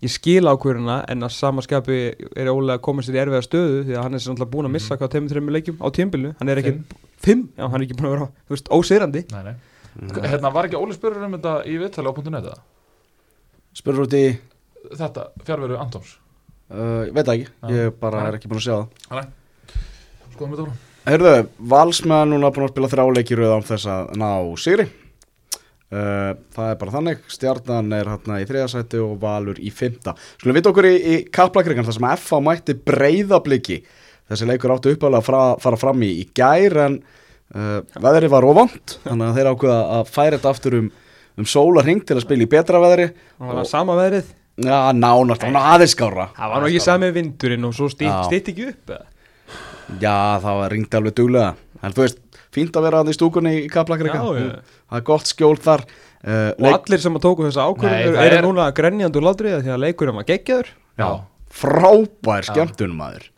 S3: ég skil ákvöruna en að samaskapi er ólega að koma sér í erfiða stöðu því að hann er sér náttúrulega búin að missa hvað teimur þreimur leikjum á tímbilinu, hann er ekki
S2: Fimm.
S3: fimm, já hann er ekki búin að vera, þú veist, óseirandi
S2: ekki. nei, nei. hérna var ekki Óli spurður um þetta í viðtali á punktu neta
S1: Spurður út í,
S2: þetta fjárveru Antons
S1: Eh, uh, ég veit það ekki ég bara er ekki búin að sjá það
S2: skoðum þetta frá
S1: Herðu, Valsmenn núna búin að spila þráleiki rauð án þess að ná sigri uh, Það er bara þannig Stjarnan er hérna í þriðasæti og Valur í fymta Skulum við okkur í, í kaplakringan þar sem að FA mætti breyðabliki Þessi leikur áttu uppalega að fra, fara fram í í gær en uh, veðri var óvand þannig að þeir ákveða að færa þetta aftur um, um sólarhing til að spila í betra veðri
S3: Það var það sama veðrið
S1: Já, nánast, hún aðeins skára
S3: Það var nú ekki sami vindurinn og svo
S1: Já.
S3: stýtt ekki upp eða?
S1: Já, það var ringt alveg duglega En þú veist, fínt að vera hann í stúkunni í Kaplakrika
S3: Já, já.
S1: Það er gott skjól þar uh,
S3: Og allir sem að tóku þessa
S2: Nei,
S3: ákvörður
S2: það
S3: eru
S2: er-
S3: núna grenjandi úr látriða því að leikurinn var geggjaður
S2: Já.
S1: Frábær skemmtun maður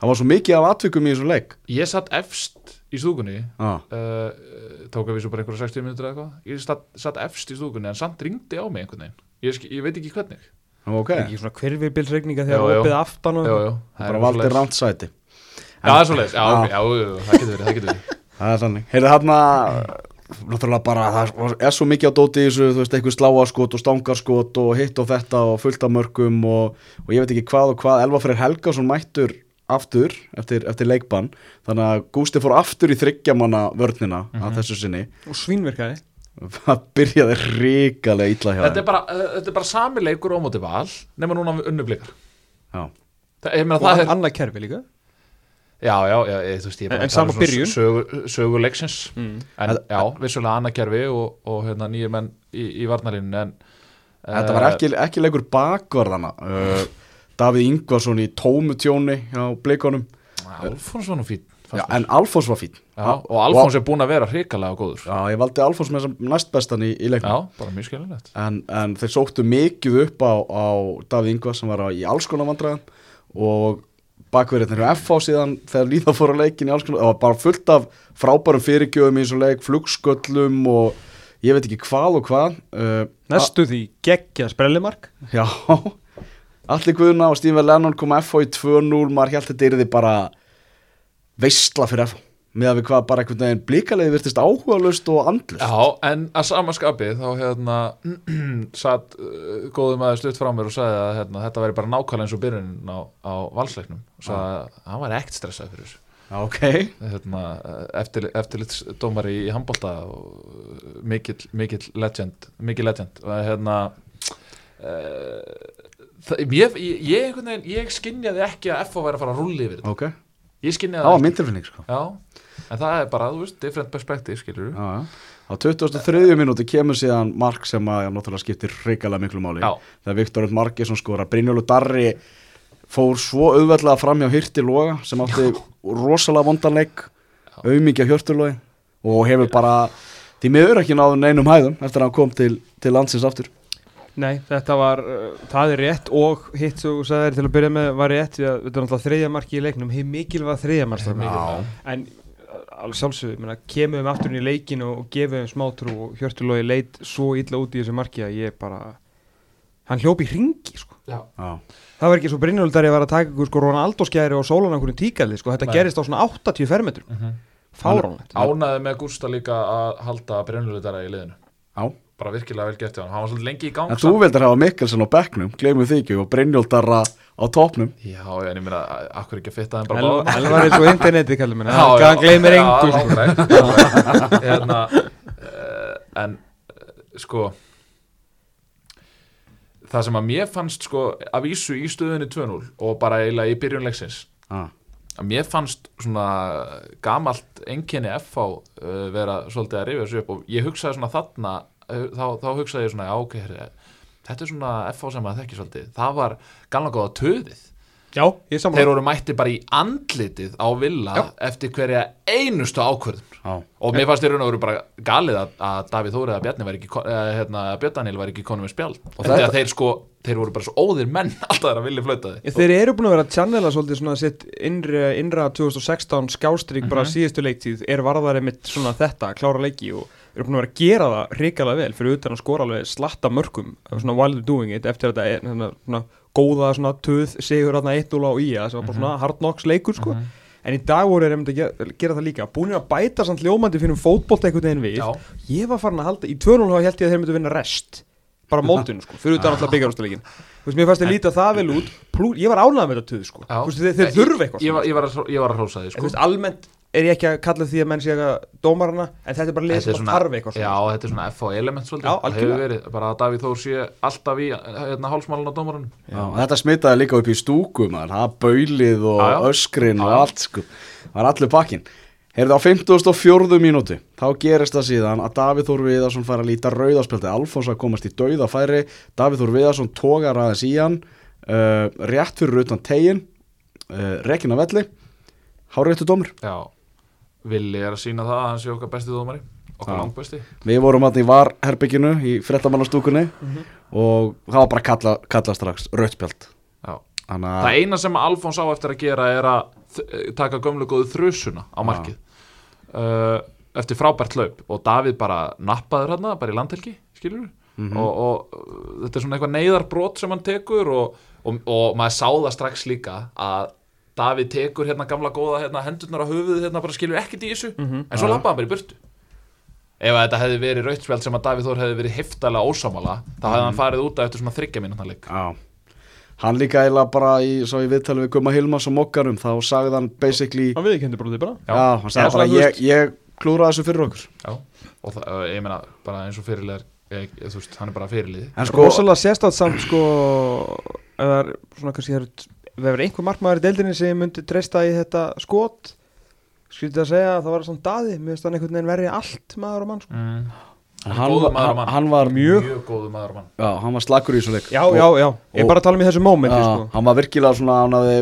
S1: Það var svo mikið af atvikum í þessum leik
S2: Ég satt efst í stúkunni
S1: Já,
S2: uh, tók að við svo bara einhverja 60 minútur eða eitthvað ég satt, satt efst í stúkunni en samt ringdi á mig einhvern veginn ég, sk- ég veit ekki hvernig
S1: ok
S3: Ekki svona hverfirbilsregninga
S2: Jú,
S3: þegar
S2: jú.
S3: opið aftan og
S2: jú, jú, er
S1: Bara
S2: eitthvað
S1: valdi
S2: svoleiðis.
S1: rámt sæti
S2: já, það er svoleiðis, já,
S1: Já.
S2: ok, já, jú, jú, það getur verið, það getur verið
S1: Það er þannig Heyrðu þarna Náttúrulega bara, það var- er svo mikið á dóti í þessu, þú veist, eitthvað sláaskot og stangarskot og hitt og þetta og fullt af mörgum og, og ég veit ekki hvað og hvað, Elva Freyr Helgason mættur aftur eftir, eftir leikbann, þannig að Gústi fór aftur í þryggjamanna vörnina
S2: Mhm.
S1: að þessu sinni,
S3: Og svínverkaði
S1: það byrjaði ríkalega illa hjá
S2: þetta
S1: þeim.
S2: er bara, uh, þetta er bara sami leikur á móti val nema núna við unnublikar
S1: Já,
S2: það, ég meina
S3: Og
S2: það er,
S3: annað kerfi líka
S2: já, já, já, ég, þú veist ég er bara
S3: En- en
S2: að tala um
S3: sama
S2: svona
S3: byrjun. Mm.
S2: sögu, sögu leiksins en
S1: Þetta-
S2: já, vissulega annað kerfi og, og hérna nýjir menn í, í varnarlinni en
S1: þetta var ekki,
S2: Eh.
S1: ekki leikur bakvarðana, uh, Davíð Ingvarsson í tómu tjóni hjá blikonum,
S2: eh, Alfons var nú fín
S1: Já, en Alfons var fín.
S2: já, og Alfons er búinn að vera hrikalega góður já,
S1: Já, ég valdi Alfons með sem næstbestan í, í leiknum.
S2: bara mjög skiljanlegt
S1: en, en þeir sóttu mikið upp á, á Davíð Ingvar sem var á, í alls konar vandræðum og bakverðinir á FH síðan þegar líða fór að leikin í alls konar það var bara fullt af frábærum fyrirgjöfum í eins og leik, flugsköllum og ég veit ekki hvað og hvað uh,
S3: Næstu því geggjað sprellimark
S1: a- Já Allir Guðna og Stífur Lennon kom FH í 2-0 maður held þetta yrði bara veistla fyrir FH með að við hvað bara einhvern veginn blíkalegi virtist áhugalust og andlust
S2: Já, en að sama skapi þá hérna satt uh, góðum aðeins stutt frá mér og sagði að hérna, þetta væri bara nákvæmlega eins og byrjunin á, á valsleiknum og sagði að hann var ekkert stressað fyrir þessu
S1: Ok,
S2: hérna, eftir, eftirlitsdómari í handbólta og uh, mikill, mikill legend mikill legend og hérna uh, það, ég, ég, ég, einhvern veginn- ég skinjaði ekki að FO væri að fara að rulli yfir þetta
S1: ok
S2: ég skinjaði
S1: Það var
S2: það
S1: minn tilfinning sko
S2: já, en það er bara, þú veist, different perspective skilur
S1: Já, já. Á 23. mínúti kemur síðan mark sem að já, náttúrulega skiptir reikalega miklu máli.
S2: Já.
S1: Það er Viktor Öll Margesson skora. Brynjólu Darri fór svo auðveldlega fram hjá Hirti Loga sem átti rosalega vondanleik, auðmingja Hjörturlogi og hefur bara því miður ekki náðu neinum hæðum eftir að hann kom til, til landsins aftur.
S3: Nei, þetta var, uh, það er rétt og hitt svo sagðið til að byrja með var rétt því að þetta er náttúrulega þriðjamarki í leiknum hei mikil var þriðjamarki
S2: Já.
S3: en uh, alveg sjálfsögðu, ég meina, kemum við aftur inn í leikin og, og gefum við smá trú og Hjörtulói leit svo illa út í þessu marki að ég bara hann hljóp í ringi sko.
S2: já
S1: Já.
S3: það var ekki svo Brynjóldari var að taka ykkur sko Ronaldo skæri og sólan okkur um tíkalið sko. þetta
S2: Nei.
S3: gerist á svona 80 fermetrum mm
S2: Mhm.
S3: fáránlegt
S2: Ánaði með Gústa líka að halda brennulitara í liðinu
S1: Já.
S2: bara virkilega vel gert hjá hann, hann var svolítið lengi í gang
S1: En þú
S2: samt.
S1: veldur hafa Mikkelsen á bekknum, gleymum því ekki, og Brynjólu Darra á topnum.
S2: Já, já, en ég meina, a- akkur ekki að fitta þeim bara báða?
S3: hann var eins og internetið kallið minna
S2: Já, já,
S3: hann gleymir
S2: já,
S3: engu sko.
S2: langrækt, langrækt. Hérna, eh, En eh, sko Það sem að mér fannst sko að vísu í stöðunni 2-0 og bara eiginlega í byrjun leiksins
S1: Já.
S2: að mér fannst svona gamalt enginni FH uh, vera svolítið að rifja þessu upp og ég hugsaði svona þarna uh, þá, þá hugsaði ég svona, já ok herri, þetta er svona FH sem að þekki svolítið það var galna góða töðið
S3: já, ég er
S2: þeir
S3: saman
S2: voru mætti bara í andlitið á villa eftir hverja einustu ákvörðun
S1: Já.
S2: og mér fannst í raun og veru bara galið að, að Davíð Þórið að Bjarni var ekki kon- eh, hérna, Björn Daniel var ekki konum með spjald og þetta
S1: þetta-
S2: að þeir sko, þeir voru bara svo óðir menn alltaf þeirra villi flötaði
S3: Ég, þeir eru búin að vera að channela svolítið svona sitt innra, innra 2016 skástrík bara síðustu leiktíð er varðari mitt svona þetta, klára leiki og eru búin að vera að gera það ríkala vel fyrir utan að skora alveg slatta mörkum svona wild doing it eftir þetta er, svona, svona góða svona töð sigur aðna 1-0 á IA sem var bara svona hard knocks leikur sko en í dag voru þeir einmitt að gera, gera það líka búin að bæta samt ljómandi fyrir um fótbolt einhvern veginn við
S2: Já.
S3: ég var farin að halda í 2-0 þá held ég að þeir myndu vinna rest bara mótun sko, fyrir utan alltaf byggarústuleikin þú veist, mér fannst þeir líta það vel út plú, ég var ánægð með þetta töð sko,
S2: Já.
S3: þú veist, þeir, þeir þurfa eitthvað
S2: ég,
S3: svona,
S2: var- ég, var að hró- ég var að hrósa því
S3: en þú
S2: sko.
S3: veist, almennt er ég ekki að kalla því að menn sé eitthvað dómarana en þetta er bara lið
S2: Þetta er
S3: sem
S2: svona-
S3: þarf eitthvað sko.
S2: Já,
S3: svona
S2: þetta er svona FH element svolítið
S3: Já,
S2: Það
S3: algjörlega.
S2: hefur verið bara að Davíð Þór sé alltaf í hérna, hálsmálun á dómarunum
S1: Já, og þetta smitaði líka upp í stúku maður, það baulið og
S2: Já, já.
S1: öskrin og
S2: Já, já.
S1: allt sko, það var allur pakkin Heyrðu á 54. mínútu, þá gerist það síðan að Davíð Þór Viðarsson fær að líta rauðaspjaldið, Alfons að komast í dauðafæri, Davíð Þór Viðarsson tógar aðeins í hann, uh, rétt fyrir utan tegin, uh, rekin af velli, háréttu dómur.
S2: Já, Vili er að sína það að hann sé okkar besti dómari
S1: Já.
S2: Okkar langbesti
S1: Við vorum hann í varherbygginu í frettamannastúkunni
S2: Mhm.
S1: og það var bara kalla, kalla strax, rauðspjald.
S2: Já Það eina sem Alfons á eftir að gera er að þ- eh, taka gömlu góðu þrjusuna á markið uh, eftir frábært laup og Davíð bara nappaður hérna, bara í landhelgi skilur og, og uh, þetta er svona eitthvað neyðarbrot sem hann tekur og, og, og maður sá það strax líka að Davíð tekur hérna gamla góða hérna, hendurnar á höfuð hérna bara skilur ekkert í þessu en svo lappaði hann bara í burtu ef að þetta hefði verið rautspjald sem að Davíð Þór hefði verið heftalega ósámála þá hefði hann farið út af eftir svona þryggja mínútna leik
S1: Já, hann líka eiginlega bara í, svo í viðtali við Guma Hilmas og Mokkarum þá sagði hann basically
S3: hann viðkendur bara því bara
S1: Já, hann
S2: Já,
S1: sagði bara
S3: svona, þú
S1: ég, ég klúraði þessu fyrir okkur
S2: Já, og það, ö, ég meina bara eins og fyrirlegar ég, ég, þú veist, hann er bara fyrirlið
S1: En sko,
S3: rosalega sérstætt samt sko ef það er svona kannski það eru- ef það er einhver markmaður í deildinni sem myndi treysta í þetta skot skrítið að segja að það var svona daði mér finnst hann einhvern veginn verið allt maður og mann sko.
S2: mm.
S1: hann,
S2: góður maður og
S1: hann,
S2: mann.
S1: hann var
S2: mjög,
S1: mjög
S2: góðu maður mann
S1: Já, hann var slakur í þessu leik
S3: já,
S1: Og-
S3: já, já, ég
S1: og-
S3: er bara að tala um í þessu
S1: Já,
S3: mómenti sko.
S1: hann var virkilega svona, hann hafði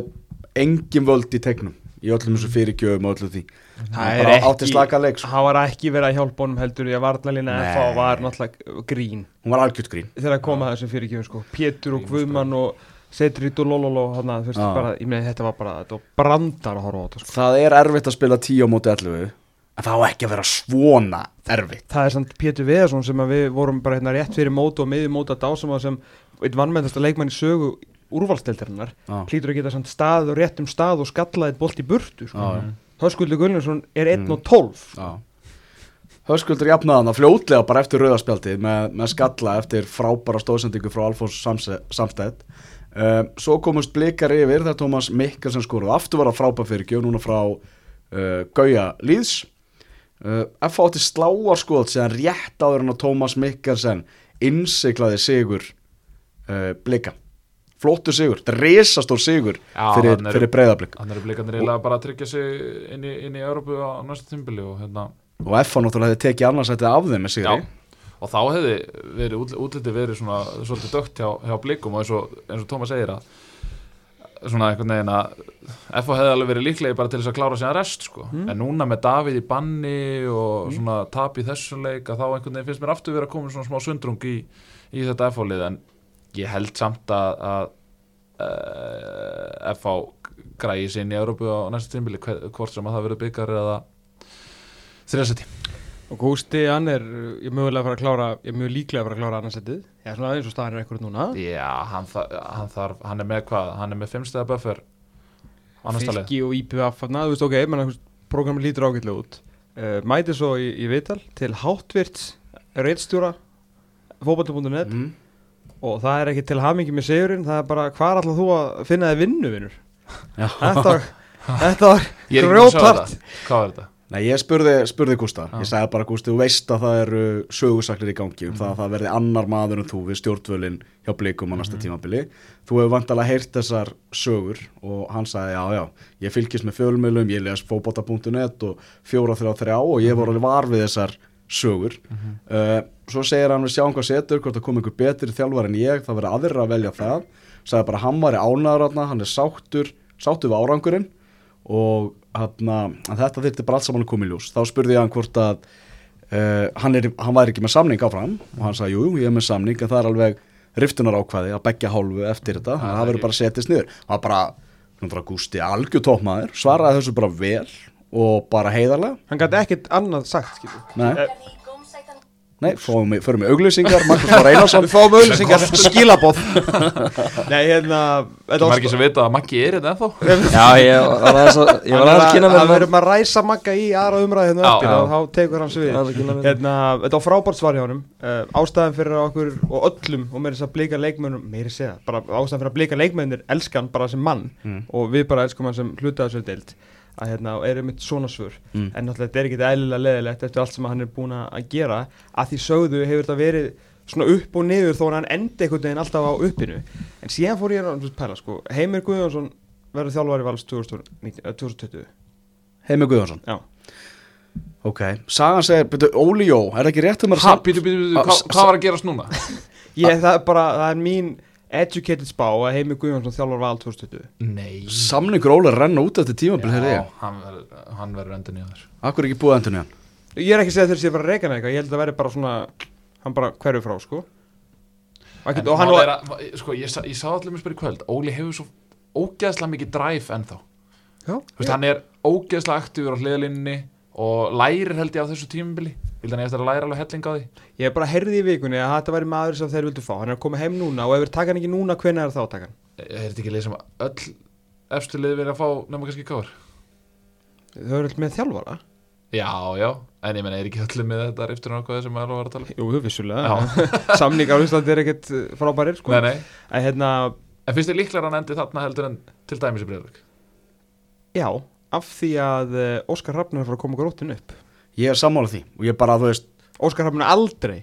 S1: engin völd í tegnum í öllum þessu fyrirgjöfum og öllu því
S3: Það
S1: bara
S3: er
S1: átti
S3: ekki-
S1: slaka leik, sko.
S3: Hann var ekki verið að hjálpa honum heldur Því að varnalina
S1: Nei.
S3: FH var náttúrulega grín
S1: Hún var algjört grín
S3: Þegar að koma að þessum fyrirgjöfum sko Pétur og Guðmann og Setrit og Lololó Þannig að þú veist
S1: sko. Já.
S3: bara Ég meina þetta var bara Þetta var brandar að horfa á þetta sko
S1: Það er erfitt að spila 10 á móti 11 En það á ekki að vera svona erfitt
S3: Það er samt Pétur Veðarsson sem að við vorum bara hérna rétt fyrir mót og miðjum mót að dásama sem eitt vannmennasta leikmann í sögu úrvalsteldarinnar
S1: Já.
S3: hlýtur að geta samt stað og rétt um stað og skallaði eitt bolt í burtu sko.
S1: Já, Mm. já.
S3: Höskuldur Gunnarsson er 1 og 12
S1: Já. Höskuldur jafnaði hann að fljótlega bara eftir rauðarspjaldið með, með skalla eftir frábæra stóðsendingu frá Alfons Samstæð. Um, svo komust blikar yfir þegar Tómas Mikkelsen skoraði aftur var að frábæra fyrir gjöf núna frá uh, Gauja Líðs. Uh, F átti sláarskot sem rétt áður en að Tómas Mikkelsen innsiklaði sigur uh, blika. Flottu sigur, þetta er risastór sigur
S2: Já,
S1: fyrir,
S2: hann er-
S1: fyrir breyðablika.
S2: Hann eru blikandir eiginlega bara að tryggja sig inn í, inn í Európu á næsta tímbili og hérna
S1: Og F á náttúrulega hefði tekið annarsættið af þeim með sigri.
S2: Já, og þá hefði verið, útl- útlitið verið svona, svolítið dögt hjá, hjá blikum og eins og, eins og Tómas segir að svona einhvern veginn að FH hefði alveg verið líklegi bara til þess að klára sína rest sko. en núna með Davíð í banni og svona tap í þessum leik að þá einhvern veginn finnst mér aftur verið að koma svona smá sundrung í, í þetta FH lið en ég held samt að, að uh, FH græði sér inn í Európu á næsta tímbili hvort sem að það verið byggar eða þriðasetti
S3: Og Gústi, hann er, uh, ég er mögulega að fara að klára, ég er mjög líklega að fara að klára annarsettið. Já, svona eins og staðan er ekkur núna.
S2: Já, hann, þa- hann, þarf, hann er með hvað? Hann er með fimmstæða buffer annarstallið
S3: Fylki og IPF, na, þú veist, ok, menn að programmi lítur ágætlega út. Uh, mæti svo í, í viðtal til háttvirts reitstjóra fókbalta.net
S1: Mm.
S3: og það er ekki til hamingi með segurinn, það er bara hvar ætlað þú að finna þið vinnu, vinnur?
S1: Já.
S3: Þetta var, þetta var
S2: Ég er ekki búinn að sjá
S3: grjótart.
S2: þetta. Hvað er þetta?
S1: Nei, ég spurði, spurði Gústa,
S2: Já.
S1: ég sagði bara Gústi, þú veist að það eru sögusaklir í gangi um það að það verði annar maður en þú við stjórnvölin hjá blikum á næsta tímabili. Þú hefur vantalega heyrt þessar sögur og hann sagði, já, já, ég fylgist með fjölmjölum, ég les fóbota.net og 433 og ég voru alveg var við þessar sögur. uh, svo segir hann við sjáum hvað setur, hvort það kom einhver betri þjálfar en ég, það verði aðra að velja það. Sagði bara, hann var í ánæðuratna, hann er sáttur, sáttur við árangurinn og hana, þetta þyrfti bara allt saman að koma í ljós þá spurði ég hann hvort að uh, hann, er, hann væri ekki með samning áfram og hann sagði, jú, jú, ég er með samning en það er alveg riftunar ákvæði að begja hálfu eftir þetta, þannig að það verður bara að setjast niður það var bara, hann bara gústi algjör toppmaður, svaraði þessu bara vel og bara heiðarlega
S3: Hann gæti ekkert annað sagt, skilju.
S1: nei,
S5: Kom sættan
S1: nei, fórum við, förum við auglýsingar Markus Már Einarsson
S3: Við fáum auðlýsingar, skilabóð. Nei, hérna, þetta
S2: Það er ekki sem vita að Maggi er þetta ennþá
S4: Já, ég var aðeins að ég var aðeins að kynna
S3: Það
S4: mér
S3: verðum að ræsa Magga í aðra umræði hérna
S2: Já,
S3: eftir
S2: já.
S3: og þá tekur hann svið
S4: Aðra kynna við.
S3: hérna, Þetta var frábært svar hjá honum uh, Ástæðan fyrir að okkur og öllum og meira þess að blika leikmönnum meira segja, bara ástæðan fyrir að blika leikmönnir elskan bara sem mann og við bara elskum hann sem hluta þessu deild að hérna, og eru mitt svona svör
S1: Mm.
S3: en náttúrulega þetta er ekkit eðlilega leðilegt eftir allt sem hann er búin að gera að því sögðu hefur þetta verið svona upp og niður þó að hann endi einhvern veginn alltaf á uppinu en síðan fór ég að pæla sko Heimir Guðjónsson verður þjálfari vals 2019 eh, 2020
S1: Heimi Guðjónsson
S3: Já.
S1: Ok, Sagan segir, byrju, Óli Jó, er það ekki rétt um að
S2: Ha, býtu, býtu, býtu,
S1: Ah,
S2: hvað
S1: s-
S2: hvað var að gerast núna?
S3: ég, það, er bara, það er mín educated spá að Heimir Guðjónsson þjálfari vals 2020
S2: Nei
S1: Samningur Óli er að renna út eftir tímabil, heyrði
S2: Já,
S1: ég
S2: hann verður- hann verður endin í aður
S1: Akkur er ekki búið endur nýjan
S3: Ég er ekki að segja þeir séu bara að reyka neika Ég held að það væri bara svona Hann bara hverju frá sko Akkur,
S2: En
S3: Og hann
S2: mál
S3: var
S2: er að, sko, ég, sa- ég sá allir mér spyrir kvöld Óli hefur svo ógeðslega mikið drive ennþá
S3: Já,
S2: Þú veist, hann er ógeðslega aktífur á hliðlinni og lærir held ég á þessu tímabili Ég held að hann eigi eftir að læra alveg helling á því
S3: Ég hef bara heyrði í vikunni að þetta væri maður sem þeir vildu fá Hann er að koma heim núna og ef þeir taka hann ekki núna Hvenær er þá að taka hann?
S2: Er þetta ekki leið sem öll efstu liði verið að fá nema kannski káur?
S3: Þau eru alltaf með þjálfara
S2: Já, já, en ég menna, er ekki öllu með þetta riftur nákvæði sem maður var að tala um?
S3: Jú, vissulega Samningar á Íslandi er ekkert uh, frábærir sko
S2: Nei, nei,
S3: En hérna,
S2: en finnst þið líklega hann endi þarna heldur en til dæmis í Breiðavík?
S3: já Af því að uh, Óskar Hrafn er að fara að koma gróttin upp
S1: Ég er sammála því og ég bara, þú veist
S3: Óskar Hrafn er aldrei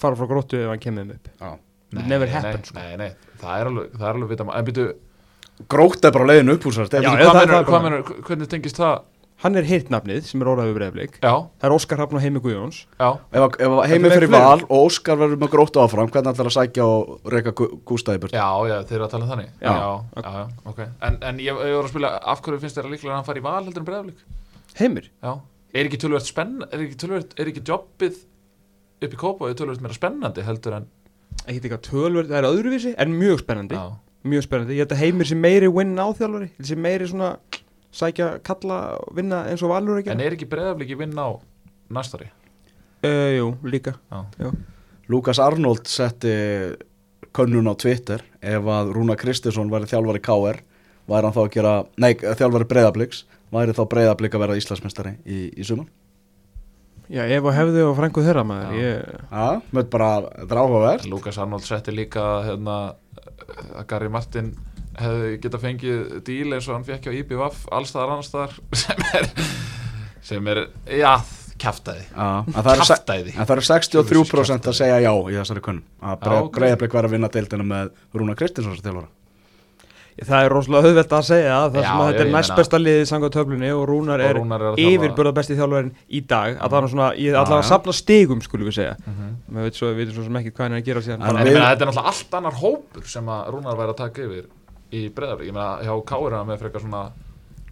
S3: fara frá gróttu ef hann kemur þeim upp
S1: já.
S3: It never
S2: nei,
S3: happened, sko.
S2: nei, nei, það er alveg, það er alveg vita maður En býtu,
S1: Grótt er bara á leiðinu upp úr sér
S3: Já,
S2: býtu,
S3: já,
S2: hvað
S3: það- það
S2: menur,
S3: er bara-
S2: hvað menur, hvernig tengist það?
S3: Hann er hitt nafnið sem er orðaðið breyflik
S2: Já,
S3: Það er Óskar Hrafn og Heimi Guðjóns
S2: já
S1: Ef, ef heimi
S3: Þetta er
S1: fyrir
S3: fleiri.
S1: val og Óskar verður með grótt áfram Hvernig ætlar að sækja og reyka Gústa í burt?
S2: Já, já, þeir eru að tala um þannig
S1: Já.
S2: Já, já, já, ok En, en ég, ég voru að spila, af hverju finnst þér líklega að hann fari í val heldur en breyðaflik?
S3: Heimir
S2: Já, er ekki tölvöld spenn er ekki tölvöld, er ekki jobbið upp í kópa, er tölvöld meira spennandi heldur en
S3: ekkert eitthvað tölverð, það er öðruvísi en mjög spennandi,
S2: Já,
S3: mjög spennandi ég held að heimir sem meiri win á þjálfari sem meiri svona sækja kalla vinna eins og valur ekki
S2: en er ekki breyðaflik í vinn á næstari?
S3: uh, Jú, líka
S2: Já,
S1: Lukas Arnold setti könnun á Twitter ef að Rúna Kristinsson væri þjálfari KR væri hann þá að gera, nei, þjálfari breyðabliks væri þá breyðablik að vera Íslandsmeistari í, í suman
S3: Já, ef og hefði og frængu þeirra
S2: Já.
S3: ég...
S1: Já, með bara, þetta er áhugavert
S2: Lukas Arnold setti líka hérna, að Gary Martin hefði geta fengið díl eins og hann fekk á IBVF allstaðar annarstaðar sem er, sem er já, kjaftaði
S1: Já, en það eru se-
S2: Kjaftæði.
S1: en það eru 63% að segja já í þessari könnun að
S2: Já, ok.
S1: breyðablik væri að vinna deildina með Rúna Kristinsson sem þjálfara
S3: Það er rosalega auðvelt að segja það
S2: Já,
S3: sem að þetta
S2: já,
S3: er
S2: ég
S3: næst
S2: meina-
S3: besta liðið sangað töflunni og Rúnar
S2: Og
S3: er,
S2: Rúnar er að Mhm. þjálfa-
S3: yfirbörða besti þjálfarinn í dag að það er nú svona, ég
S1: Já,
S3: allavega
S1: já.
S3: að safna stigum skulum við segja maður veit svo, við veitum svo sem ekki hvað hann er að gera síðan
S1: En
S2: En
S3: bara,
S2: ég
S1: við-
S2: meina, þetta Mhm. er náttúrulega allt annar hópur sem að Rúnar væri að taka yfir í breyðarblik. Ég meina, hjá Káir hann með frekar svona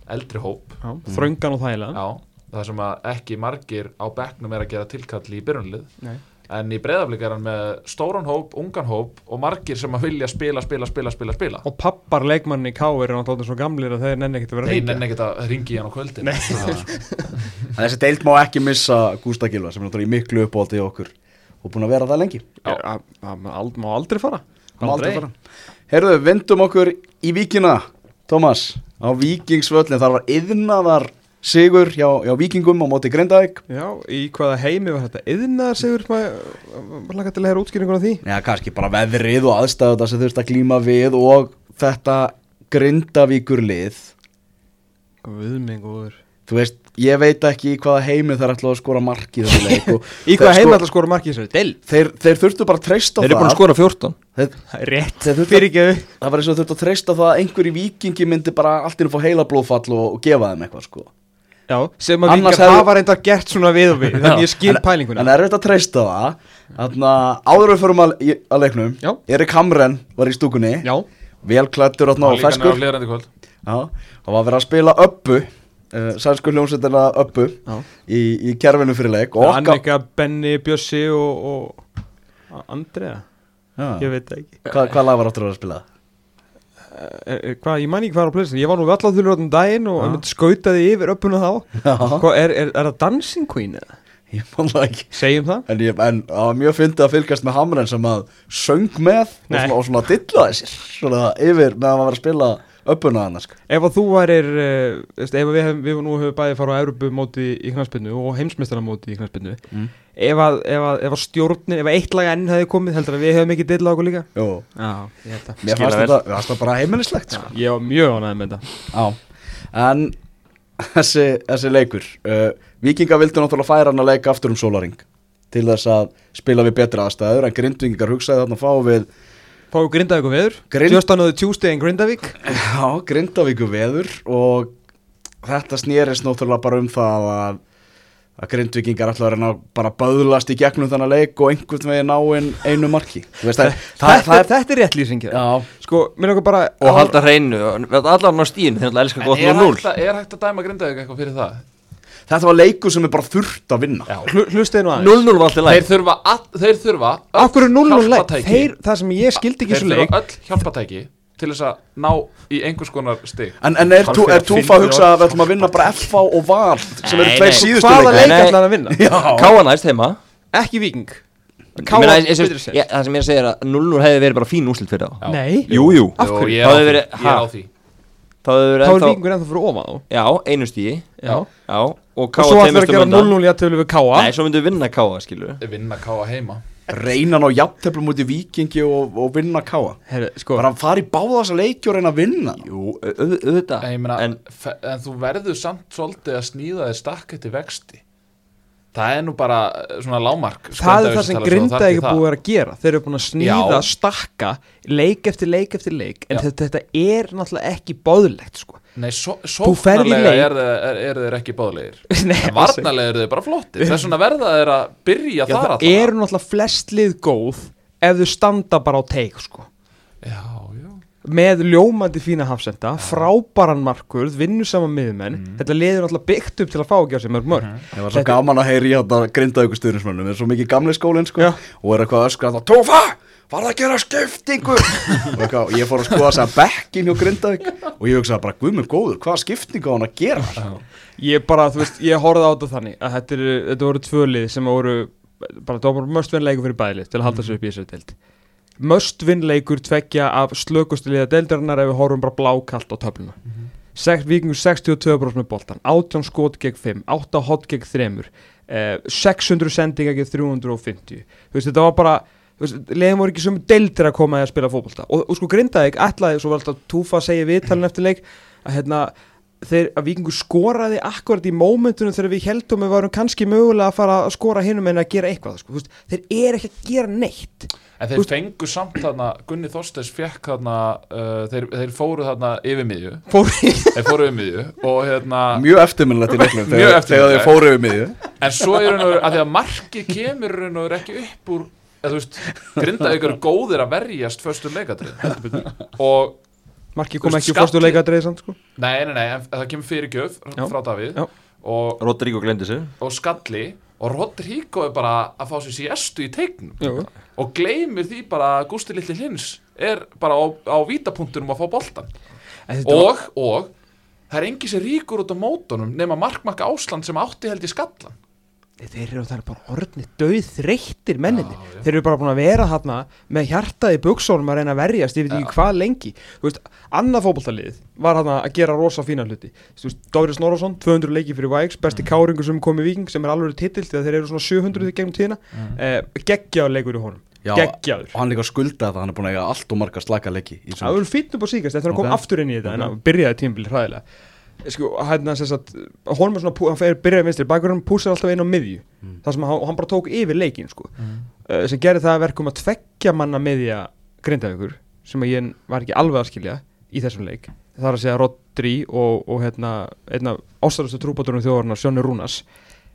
S2: eldri hóp,
S3: já, þröngan og þægilega
S2: já, það sem að ekki margir á bekknum er að gera tilkall í byrjunlið.
S3: Nei.
S2: En í breyðarblik er hann með stóran hóp, ungan hóp og margir sem að vilja spila, spila, spila, spila, spila.
S3: og pappar leikmanni K er náttúrulega svo gamlir að þeir nenni ekkert að vera að
S2: Þeir
S3: hringja.
S2: nenni ekkert að ringi í hann á kvöldin. Nei.
S1: En þessi deild má ekki missa Gústa Gilva sem er náttúrulega í miklu uppáldi í okkur og búin að vera það lengi
S2: Já.
S3: Er- að- að- maður ald- má aldrei fara
S1: Má aldrei fara. Heyrðu, vindum okkur í víkina Tómas, á vikingsvöllin þar var yðnaðar sigur hjá, hjá vikingum á móti Grindavík
S3: já, í hvaða heimi var þetta yðnaðar sigur maður maður laka til að heyra útskýringun á því
S1: Já, kannski bara veðrið og aðstæðu það sem þurft að glíma við og þetta Grindavíkur lið
S3: guðminn góður
S1: Þú veist, ég veit ekki í hvaða heimi þær ætlaðu að skora marki í þessu leik og
S3: í hvaða
S1: þeir
S3: heimi
S1: sko-
S3: alltaf skora markið sér del
S1: Þeir, þeir þurftu bara að treysta á
S4: Þeir eru búin að
S1: það
S4: skora 14
S1: Þeir,
S3: rétt
S1: Þeir þurftu-
S3: fyrirgeðu
S1: Það var eins og þurft að treysta á það að einhverju vikingi myndi bara allt í að fá heila blóðfall og, og gefa þeim eitthvað sko
S3: já, sem að
S1: Annars
S3: vikar
S1: hefðu-
S3: hafa reyndar gert svona við og við þannig ég skil
S1: En-
S3: pælinguna
S1: En er þetta að treysta það Þannig að áður en við förum að, í- að leiknum
S3: Já.
S1: Erik Hamren var í stúkunni
S3: já,
S1: Vel klættur þarna og
S2: Líka hann
S1: feskur
S2: er á hlýðarendi kvöld.
S1: Já, Það var verið að spila öppu uh, Sænsku hljómsveitina öppu
S3: já
S1: í, í kerfinu fyrir leik Og okkar
S3: Annika, Benny, Bjössi og, og Andrea
S1: Já.
S3: ég veit það ekki
S1: Hva, Hvað lag var áttur að spila?
S3: er, er, Eh, hvað, ég man ekki hvað er á plöðsinn ég var nú við allar þurfur átum daginn og
S1: Já.
S3: einmitt skautaði yfir öppuna þá
S1: Já.
S3: Hva, er, er, er það Dancing Queen eða?
S1: Ég man það ekki
S3: segjum það
S1: En, ég, en það var mjög fyndið að fylgjast með Hamren sem að söng með og
S3: Nei.
S1: svona, og svona dillaði sér svona yfir meðan maður var að spila öppuna hann sko.
S3: Ef að þú værir, uh, veist, ef að við, hef, við nú höfum bæði fara á Evropumóti í knarspinnu og heimsmeistaramóti í knarspinnu
S1: Mm.
S3: ef, að, ef, að, ef að stjórnin, ef að eitt lag enn hefði komið heldur að við hefum ekki dilla okkur líka
S1: Jú,
S3: Já, ég held að
S1: mér
S4: Skila
S1: fannst
S4: vel.
S1: þetta, mér fannst þetta bara heimilislegt sko.
S3: Ég var mjög ánægð með þetta
S1: Já, en þessi, þessi leikur uh, Víkinga vildi náttúrulega færa hann að leika aftur um sólaring til þess að spila við betra aðstæður en grindvingar hugsaði þarna fá við
S3: Fá grindavík og veður
S1: Grind-
S3: Just another Tuesday in Grindavík
S1: já, grindavíku veður og þetta snýrist náttúrulega bara um það að að grindvikingar ætla að reyna að bara böðlast í gegnum þannig leik og einhvern veginn á en einu marki Þú veist, það, það, það,
S3: er, þetta er rétt lýsing
S1: það,
S3: hér.
S1: já,
S3: Sko, mér langar bara
S4: og halda hreinu og verða allan á stíðinu þeir náttúrulega
S2: En er
S4: elskar gott 0-0
S2: hægt, að, er hægt að dæma Grindavík eitthvað fyrir það?
S1: þetta var leikur sem er bara þurft að vinna
S2: Já.
S3: Hlu- Hlustið nú aðeins
S4: 0-0 var alltaf
S2: Þeir
S4: læg
S2: þurfa, all, þeir þurfa öll
S3: Af hverju 0-0 leik?
S2: hjálpartæki.
S3: Þeir, það sem ég skildi ekki
S2: Þeir
S3: í þessu
S2: þurfa
S3: leik
S2: öll hjálpatæki til þess að ná í einhvers konar stig
S1: En, en er, tú, er Túfa að hugsa að við ætlum að vinna bara FA og Val sem eru
S4: Nei,
S1: tveir
S4: nei.
S1: síðustu
S3: Hvaða
S1: leikar?
S3: leik
S4: Nei, nei.
S3: ætlaði hann að vinna?
S1: Já,
S4: Káa næst heima
S3: Ekki viking
S4: Ég
S3: Káa
S4: meina, eins- eins og-
S3: betri séð.
S4: ég- það sem ég segir að 0-0 hefði verið bara fín úslit fyrir þá
S2: Já.
S3: Nei
S4: Jú, jú,
S3: Af
S2: Jú,
S3: hverju?
S2: Ég er á
S4: Það
S2: því,
S4: hefur
S2: ég
S4: verið-
S2: er
S4: ha?
S2: á því.
S4: þá
S3: Þá
S4: hefði
S3: er
S4: verið ennþá
S3: vikingur ennþá fyrir ofan þá
S4: Já, einu stíði
S3: Já Og
S4: Já, og Káa
S3: svo ætlar að
S4: tveimur
S3: gera
S4: stöðum undan.
S3: 0-0 í aðtölu við Káa
S4: Nei, svo myndum við vinna Káa, skilur
S2: Vinna káa heima
S1: reyna ná jafnteflum út í vikingi og, og vinna káa
S3: Herru, sko
S1: Bara fara í báða þessa leiki og reyna að vinna
S4: Jú, au- au- auðvitað
S2: En, ég meina, en,
S4: En
S2: en þú verður samt svolítið að sníða þér stakk eftir vexti Það er nú bara eh, svona lámark
S3: Það er það sem
S2: skrændaveislutalar, svo þarf
S3: Grindavík er
S2: ekki
S3: búið að vera að gera Þeir eru búin að
S2: Já.
S3: sníða, stakka, leik eftir leik eftir leik En
S2: Já.
S3: þetta, þetta er náttúrulega ekki báðulegt sko
S2: Nei, so,
S3: ferð í
S2: sóknarlega
S3: leik.
S2: er, er, er, eru þeir ekki báðlegir En
S3: Nei, alls ekki.
S2: varnarlega eru þeir bara flottir Þess vegna verða þeir að byrja
S3: Já,
S2: þar
S3: það
S2: allavega.
S3: eru náttúrulega flest lið góð ef þau standa bara á teik sko.
S2: Já, já
S3: með ljómandi fína hafsenda frábæran markur, vinnu saman miðumenn þetta liður náttúrulega byggt upp til að fá ekki á sig mörg mörg
S1: Það var svo
S3: Þetta-
S1: gaman að heyri hérna grinda ykkur stuðnismönnum er svo mikið gamli skólinn sko og er eitthvað öskra að Túfa, var það að gera skiptingu og eitthvað, og ég fór að skoða þess að bekkin hjá Grindavík og ég hugsaði bara, guð minn góður, hvaða skiptingu á hann að gera
S3: ég bara, þú veist, ég horfði á þetta þannig að þetta, eru, þetta voru tvö lið sem voru bara, það var must win leikur fyrir bæði lið til að halda sér upp í þessari deild must win leikur tveggja af slökustu liða deildarinnar ef við horfum bara blákalt á töfluna mm Víkingur 62% með boltan 18 skot gegn 5, 8 hot gegn 3 eh, 600 sendinga gegn 350 þú veist, þetta var bara þú veist, liðin voru ekki sem deildir að koma að spila fótbolta og, og sko Grindavík ætlaði, svo var alltaf Túfa segja viðtalin eftir leik að hérna, þeir, að Víkingur skoraði akkurat í mómentunum þegar við heldum við varum kannski mögulega að fara að skora hinum en að gera eitthvað sko. Þú veist, þeir eru ekki að gera neitt
S2: En þeir fengu samt þarna, Gunni Þorsteins fekk þarna, uh, þeir, þeir fóru þarna yfir miðju,
S3: Fór í
S2: þeir fóru yfir miðju og hérna,
S1: Mjög eftirminnilegt í leiknum
S2: Mjög
S1: þegar, þegar
S2: eftirminnilegt.
S1: þeir fóru yfir miðju
S2: en svo er hann að því að markið kemur hann og er ekki upp úr, eða þú veist, grindaðið eru góðir að verjast föstu leikadrið og
S3: Marki
S2: Þú
S3: kom
S2: veist,
S3: ekki fórstu
S2: skalli-
S3: leikadreið samt sko.
S2: Nei, nei, nei, en það kemur fyrir gjöf
S3: Já.
S2: frá Davíð
S3: Já.
S2: og,
S4: Rodrigo glemdi sér
S2: og Skalli og Rodrigo er bara að fá sér sérstu í teiknum
S3: Jú.
S2: og gleymir því bara að Gústi Lilli Hins er bara á, á vítapunktunum að fá boltan
S3: En þetta var-
S2: og, og það er engi sem ríkur út á mótunum nema markmakka Ásland sem átti held í Skallan
S3: Þeir eru það er bara orðni döð þreyttir menninni
S2: Já, já.
S3: Þeir eru bara búin að vera þarna með hjartað í buksónum að reyna að verjast ég veit ekki hvað lengi Þú veist, Annað fótboltalið var þarna að gera rosa fína hluti Þú veist, Dóri Snorarsson, 200 leiki fyrir Vægs besti káringur sem kom í Víking sem er alveg titill þegar þeir eru svona 700 í gegnum tíðina eh, geggjaður leikur í honum
S1: Já,
S3: geggjaður
S1: og hann líka skuldaði það, hann er búin að eiga allt og marga slaka leiki í
S3: Það
S1: sumar.
S3: voru fýtt upp á síkast eftir að
S1: Ok.
S3: koma aftur inn í þetta en það byrjaði tímbil hræðilega sko, hérna sem sagt, honum er svona pú- hann fer- byrjaði vinstri, bakur hann púsar alltaf inn á miðju þar sem hann, hann bara tók yfir leikin sko, uh, sem gerði það að verkum að tveggja manna miðja grindaðugur sem að ég var ekki alveg að skilja í þessum leik, það er að segja Rodri og, og hérna, einna ástæðustu trúbáturum þjóðarinnar, Sjónur Rúnas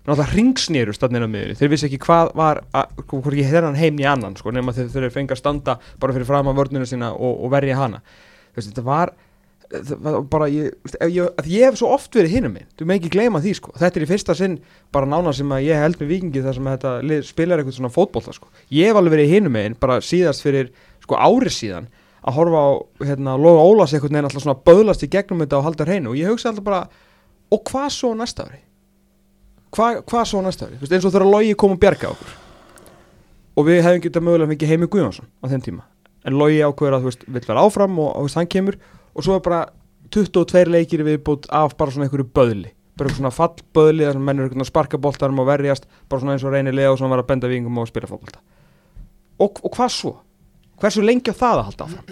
S3: náttúrulega ringsnýrust þarna inn á miðjunni þeir vissi ekki hvað var að, hvort ekki þennan heim í annan sko, nema þeir, þeir fengi að standa bara fyrir fram að vörnuna sína og, og verja hana Þú veist, þetta var, það var bara ég, þú veist, ef ég, að ég hef svo oft verið hinum minn þú með ekki gleyma því sko, þetta er í fyrsta sinn bara nána sem að ég held með vikingi þar sem þetta lið spilar eitthvað svona fótbolta sko ég hef alveg verið hinum minn bara síðast fyrir sko árið síðan að horfa á hérna, Lóa Ólas einhvern veginn alltaf svona böðlast í gegnum þetta og halda hreinu og ég hugsa alltaf bara og hvað svo næsta ári Hva- hvað svo næsta ári, Þú veist, eins og þegar Logi kom og bjarga okkur og við hefum getað mögulega fengið heimi Guðjónsson á þeim tíma en Logi ákveður að þú veist, vill vera áfram og, og þú veist, hann kemur og svo er bara 22 leikir viðbútt af bara svona einhverju böðli bara einhverju svona fallböðli þar sem menn eru einhvern veginn að sparka boltanum og verjast bara svona eins og reynir lega og svona var að benda vingum og spila fótbolta og, og hvað svo? Hversu lengi á það að halda áfram?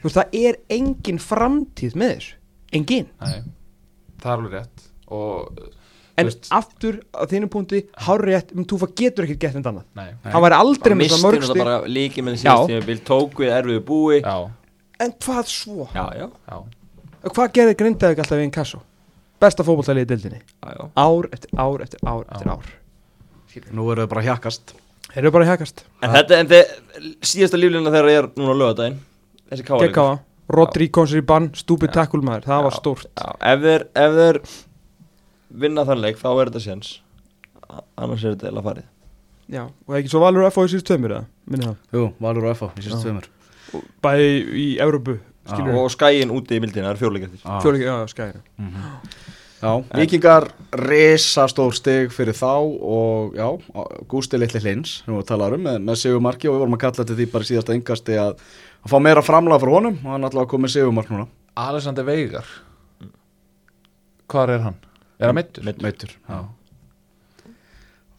S3: Þú veist, það er engin framtíð með þessu engin
S2: Nei, það er alveg rétt og
S3: En
S2: Þú veist-
S3: aftur á þínu punkti Hárétt, um túfa getur ekkert gett neitt annað
S2: nei,
S3: Hann væri aldrei með
S4: misti
S3: það
S4: þetta
S3: mörgstir
S4: bara líki með
S3: Já.
S4: síðast tímabil tók við erfiðu búi
S2: já,
S3: En hvað svo?
S4: já, já,
S2: já
S3: Hvað gerði Grindavík alltaf í einn kassu? Besta fótboltalið í deildinni
S4: já, já.
S3: Ár eftir ár eftir ár
S2: Já.
S3: eftir ár
S1: Nú eru þau bara að hjakkast
S3: Þeir eru bara að hekast
S4: En þetta, en þið, síðasta líflina þegar ég er núna á lögadaginn Þessi káleikur
S3: Gekka á Rodri kom sér í bann Stúpid tackle maður Það var
S4: Já.
S3: stórt
S4: Já, ef þeir, ef þeir vinna þann leik, þá er þetta séns A- Annars er þetta eða farið
S3: Já Og ekki svo valur FO í síðust tveimur eða Minni það
S1: Jú, Valur og FA í sérst tveimur
S3: Bæði í Evrópu Skilur
S4: Og skæin úti í mildina, það er fjóðleikar því
S1: Já.
S3: Fjóli, já, skæri
S1: Já, vikingar risastór stig fyrir þá og já, Gústi Littli Hlins sem við talaðum um með, með Sigumarki og við vorum að kalla til því bara í síðasta yngasti að, að fá meira framlega frá honum og hann alltaf að koma með Sigumark núna
S2: Alexander Veigar hvar er hann? er hann meittur?
S1: Meitur
S2: já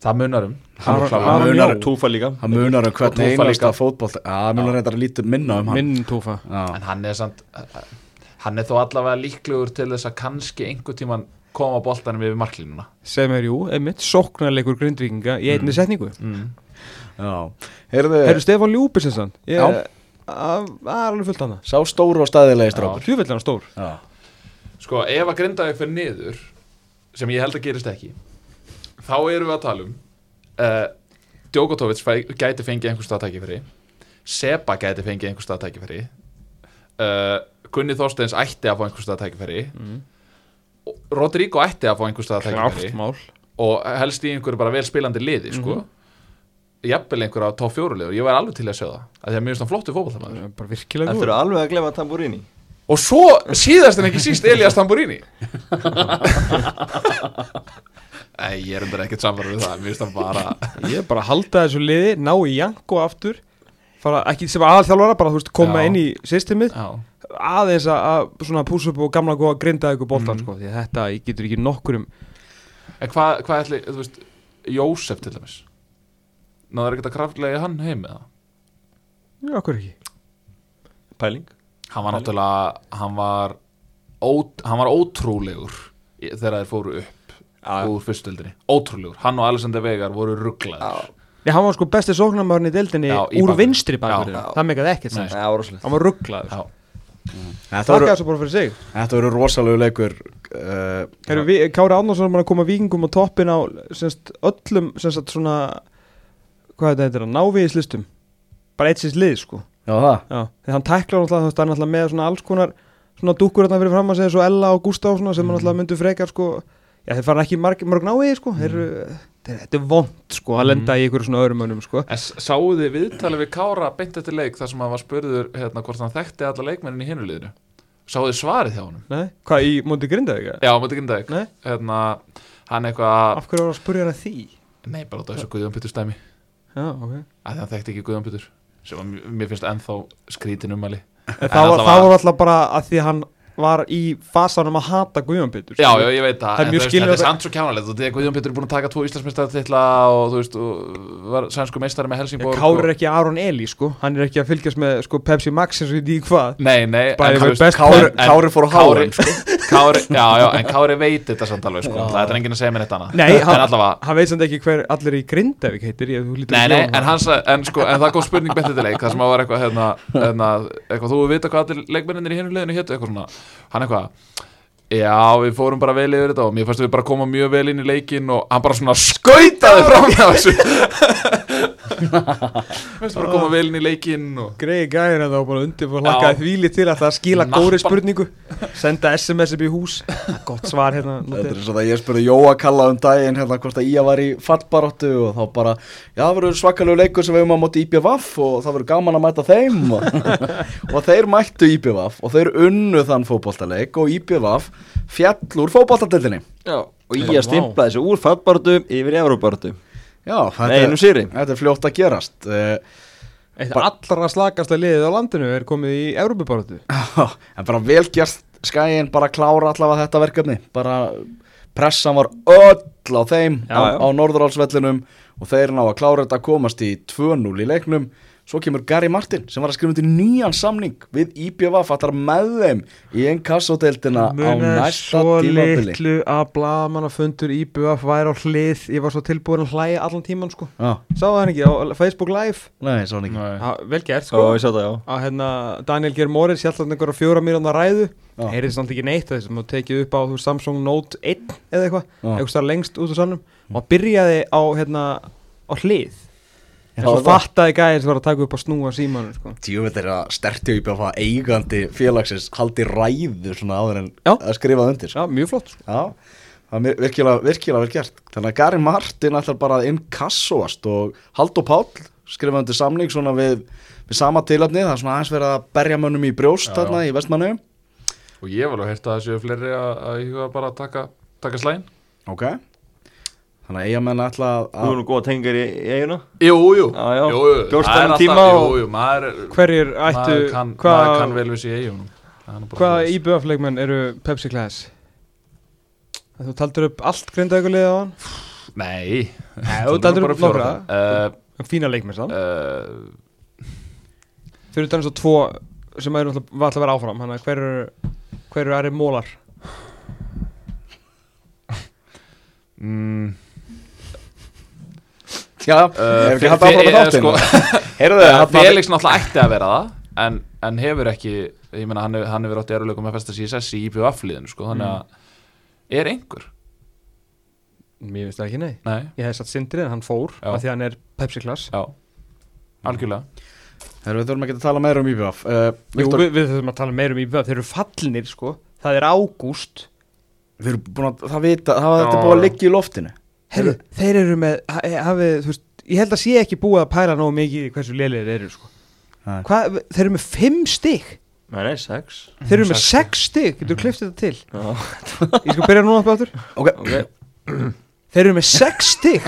S2: það munar um
S3: Aron-
S2: Það
S3: Aron-
S2: munar um.
S1: munar-
S4: Túfa líka
S1: Það munar um
S2: Og Tófa
S1: hvernig einasta
S2: líka.
S1: fótboll Já, það munar reyndar lítið minna um hann
S3: Minn túfa
S1: Já,
S2: en hann er samt hann er þó allavega líklegur til þess að kannski einhver tíman koma boltanum yfir marklínuna
S3: Sem er jú, einmitt Sóknarleikur grindvíkinga Í einni setningu
S1: já Heyrðu,
S3: Herru Stefán Ljúbis þessan Ég-
S1: Já.
S3: að- Það er alveg fullt annað
S1: sá stóru og staðilegi strákur
S3: Hljófell er hann stór
S1: Já,
S2: sko ef að Grindavík fyrir niður sem ég held að gerist ekki þá erum við að tala um uh, Djokotovic fæ- gæti fengið einhvers stað tækifæri Seba gæti fengið einhvers stað tækifæri uh, Gunni Þorsteins ætti að fá einhvers stað tækifæri Og Rodrigo ætti að fá einhvers stað tækifæri
S3: Mm. Klárt mál Mhm.
S2: og helst í einhverju bara vel spilandi liði sko jafnvel einhverju á top fjórulegur ég væri alveg til að sjá það af því að mér finnst hann flottu fótballtamaður
S3: Bara virkilega
S4: Þetta
S3: góð
S4: eru alveg að glefa tamburini
S2: og svo síðast en ekki síst Elias Tamburini Nei, ég er undir ekkert samverður við það mér finnst hann bara
S3: Ég er bara að halda þessu liði, ná í Janko aftur fara, ekki sem aðalþjálfara, bara þú veist, koma
S2: Já.
S3: inn í systemið,
S2: já,
S3: aðeins að, að svona púsa upp og gamla góða grinda ykkur boltan
S2: Mhm.
S3: sko, því að þetta ég getur ekki um- nokkurum
S2: en hvað hva ætli þú veist, Jósef til dæmis náður ekkert að kraftlega hann heim með það
S3: já, okkur ekki,
S4: Pæling
S2: hann var náttúrulega hann var, ó, hann var ótrúlegur í- þegar þeir fóru upp
S4: Já.
S2: úr fyrstöldinni, ótrúlegur hann og Alexander Vegar voru rugglaður
S3: já, hann var sko besti sóknarmörn í deildinni
S2: Já, í
S3: úr
S2: bakverðinum.
S3: vinstri
S2: Já,
S3: bakverðinu,
S4: já.
S3: það meikaði ekkert
S2: Nei.
S3: sens,
S4: Það var rosalegt
S3: hann var rugglaður
S2: Já.
S1: þetta
S3: þakka
S1: voru,
S3: þessu bara fyrir sig,
S1: þetta voru rosalegu leikur uh,
S3: Heru, við, Kári Árnason er mann að koma vikingum á toppin á semst, öllum, semst að svona hvað þetta heitir, náviðislistum bara eitt sinns lið sko
S1: Já, það
S3: Já, þegar hann tæklar náttúrulega, þú veist, hann er náttúrulega með svona alls konar svona dúkkur hérna fyrir fram að segja svo Ella og Gustaf svona,
S2: Mhm.
S3: sem mm. náttúrulega myndu frekar sko, já þeir fara ekki marg, mörg náið sko,
S2: Mhm.
S3: þeir eru, þeir, þetta er vond sko að lenda í einhverju svona öðrum önum sko.
S2: En s- sáuð þið viðtalið við Kára beint eftir leik þar sem hann var spurður hérna, hvort hann þekkti alla leikmennin í hinuleginu sáuð þið svarið hjá honum
S3: Nei, hvað í múndi grindað ekki?
S2: já, maður ekki dag
S3: Nei.
S2: hérna, hann eitthvað,
S3: Af hverju var að spurja hann að því?
S2: nei bara út af þessu Guðjón Pítur stæmi
S3: Já, ok.
S2: að því hann þekkti ekki Guðjón Pítur sem að m- mér finnst ennþá skrítin umali
S3: En það var,
S2: allavega-
S3: það var alltaf bara að því að hann var í fasanum að hata Guðjón Pétur. sko.
S2: Já, já, ég veit það,
S3: Það er
S2: en þú
S3: mjög
S2: veist,
S3: skiljanlegt.
S2: þetta er samt svo kjánalegt og þegar Guðjón Pétur er búin að taka tvo Íslandsmeistartitla og þú veist, og var sænsku meistari með
S3: En
S2: Helsingborg
S3: Kári er
S2: og...
S3: ekki Aron Eli sko, hann er ekki að fylgjast með sko Pepsi Max eins og ég dýk hvað.
S2: Nei, nei, en
S3: Bæði við
S2: þú veist,
S3: best
S1: Kári,
S2: En-
S1: Kári fór á háum
S2: Kári-
S1: sko.
S2: Kári, já, já, en Kári veit þetta samt alveg, sko, það er enginn að segja mér neitt annað
S3: Nei,
S2: En
S3: hann,
S2: allavega,
S3: hann veit samt ekki hver allir í Grindavík heitir, ég, þú lítur
S2: Nei,
S3: ekki á
S2: nei,
S3: hann.
S2: en, hans, en, sko, en það kom spurning betur til leik, það sem að var eitthvað, hérna, hérna, eitthvað þú vita hvað allir leikmenninir í hinu liðinu hétu, eitthvað svona, hann eitthvað, já, við fórum bara vel yfir þetta og mér fannst við bara koma mjög vel inn í leikin og hann bara svona skautaði fram með þessu. Mér fannst bara koma vel inn í leikin og...
S3: greiði gæðina þá bara undir og hlakkaði
S2: Já.
S3: þvíli til að það skila
S2: Nappa.
S3: góri spurningu senda SMS upp í hús gott svar hérna
S1: Þetta er svo það ég spurði Jóa Kalla um daginn hérna hvort að Ía var í fallbaróttu og þá bara, já það verður svakalegu leikur sem við höfum á móti IPVaf og það verður gaman að mæta þeim og, og þeir mættu IPVaf og þeir unnu þann fótboltaleik og IPVaf fjall úr fótboltadeldinni
S4: Já Og ég
S3: Bara,
S4: að stimpla þessu úr fattbartu yfir Evrópartu
S1: Já, þetta,
S4: Nei, nú sigri.
S1: þetta er fljótt að gerast uh,
S3: Eitt allra slakasta liðið á landinu er komið í Európa-baróttu
S1: en bara vel gert skæin bara klára allavega þetta verkefni bara pressan var öll á þeim
S3: Já,
S1: á,
S3: já.
S1: á norðurálsvellinum og þeir ná að klára þetta komast í 2-0 í leiknum Svo kemur Gary Martin sem var að skrifa undir nýjan samning við IPVF að það er með þeim í einn kassoteildina á
S3: Munar
S1: næsta
S3: svo
S1: tímabili
S3: litlu að blaðamannafundur IBF væri á hlið Ég var svo tilbúin að hlæja allan tíman sko
S1: Já,
S3: Sá það ekki á Facebook Live
S1: nei, svo hann ekki
S2: Nei.
S3: ha, Vel gert
S4: Ó,
S3: sko
S4: ég sá það, já
S3: að hérna, Daniel Geir Morris hjælt að einhverja fjóra mínúna ræðu
S1: Já.
S3: heyrðist samt ekki neitt þess að maður tekið upp á þú, veist, Samsung Note 1 eða eitthvað
S1: Já.
S3: eitthvað starf lengst út úr salnum og hann byrjaði á, hérna, á hlið en
S1: Já,
S3: svo
S1: það-
S3: fattaði gæðin sem var að taka upp að snúa símanum sko.
S1: Tjúvill er að sterti upp að faða eigandi félagsins haldi ræðu svona áður en
S3: Já.
S1: að skrifa undir
S3: Já, mjög flott sko.
S1: Já, það er virkilega, virkilega vel gert Þannig að Gary Martin ætlar bara að inkassóast og Haldur Páll skrifa undir samning svona við, við sama tilöfni, það er svona aðeins verið að berja mönnum í brjóst
S2: Já,
S1: þarna í vestmannu
S2: Og ég hef alveg heyrt að það séu fleiri að, að ég huga bara að taka, taka slæn
S1: Ok Þannig að eigamenn ætla að-
S4: Þú
S1: að
S4: erum góða tengar í í eiguna
S2: Jú, jú,
S4: Já, já.
S2: jú, jú.
S4: Gjóst
S2: Það er
S4: þennan
S2: alltaf-
S4: tíma og-
S2: Jú, jú, maður,
S3: Hverjir ættu,
S2: maður, kann,
S3: hvað,
S2: maður kann vel við sér eigunum
S3: hvaða IBF-leikmenn eru Pepsi Class? Þú taldur upp allt grindaukulið á hann
S2: Nei,
S3: þú taldir upp nokkra.
S2: uh,
S3: Fína leikmenn samt
S2: uh,
S3: Fyrir utan þess að tvo sem er náttúrulega var alltaf að vera áfram Þannig að hver eru hver eru Ari Mólar
S2: mm,
S1: Já,
S2: Eh,
S1: er ekki
S2: fe-
S1: hægt áfram
S2: fe-
S1: með
S2: eh,
S1: þáttinn
S2: sko-
S1: Heyrðu
S2: Eh,
S1: þið,
S2: Felix náttúrulega ætti að vera það en, en hefur ekki ég meina hann, hefur- hann hefur átti eruleikum að festa CSS í IPVF-liðinu sko,
S4: Mm.
S2: þannig að er einhver?
S3: Mér finnst það ekki nei
S2: Nei,
S3: Ég hef satt Sindri en hann fór
S2: Já.
S3: af því að hann er Pepsi Class
S2: já algjörlega,
S1: Heyrðu, við þurfum ekki að tala meira um IBF uh,
S3: Jú,
S1: Viktor,
S3: við, við þurfum að tala meira um IBF Þeir eru fallinir sko Það er ágúst
S1: við erum búin að, það vita, það var þetta
S2: Já,
S1: búið að
S2: já.
S1: liggja í loftinu
S3: Herru, þeir eru með ha- e- hafið, þú veist, Ég held að sé ekki búið að pæla nógu mikið í hversu lélir þeir eru sko
S1: Nei.
S3: Hva, Þeir eru með fimm stig
S4: Nei, nei, sex
S3: Þeir eru með
S2: Sex
S3: sex stig Mhm. Getur þú klift þetta til?
S4: Já,
S3: Ég skal byrja núna upp áttur
S1: Ok,
S4: ok
S3: Þeir eru með sex stygg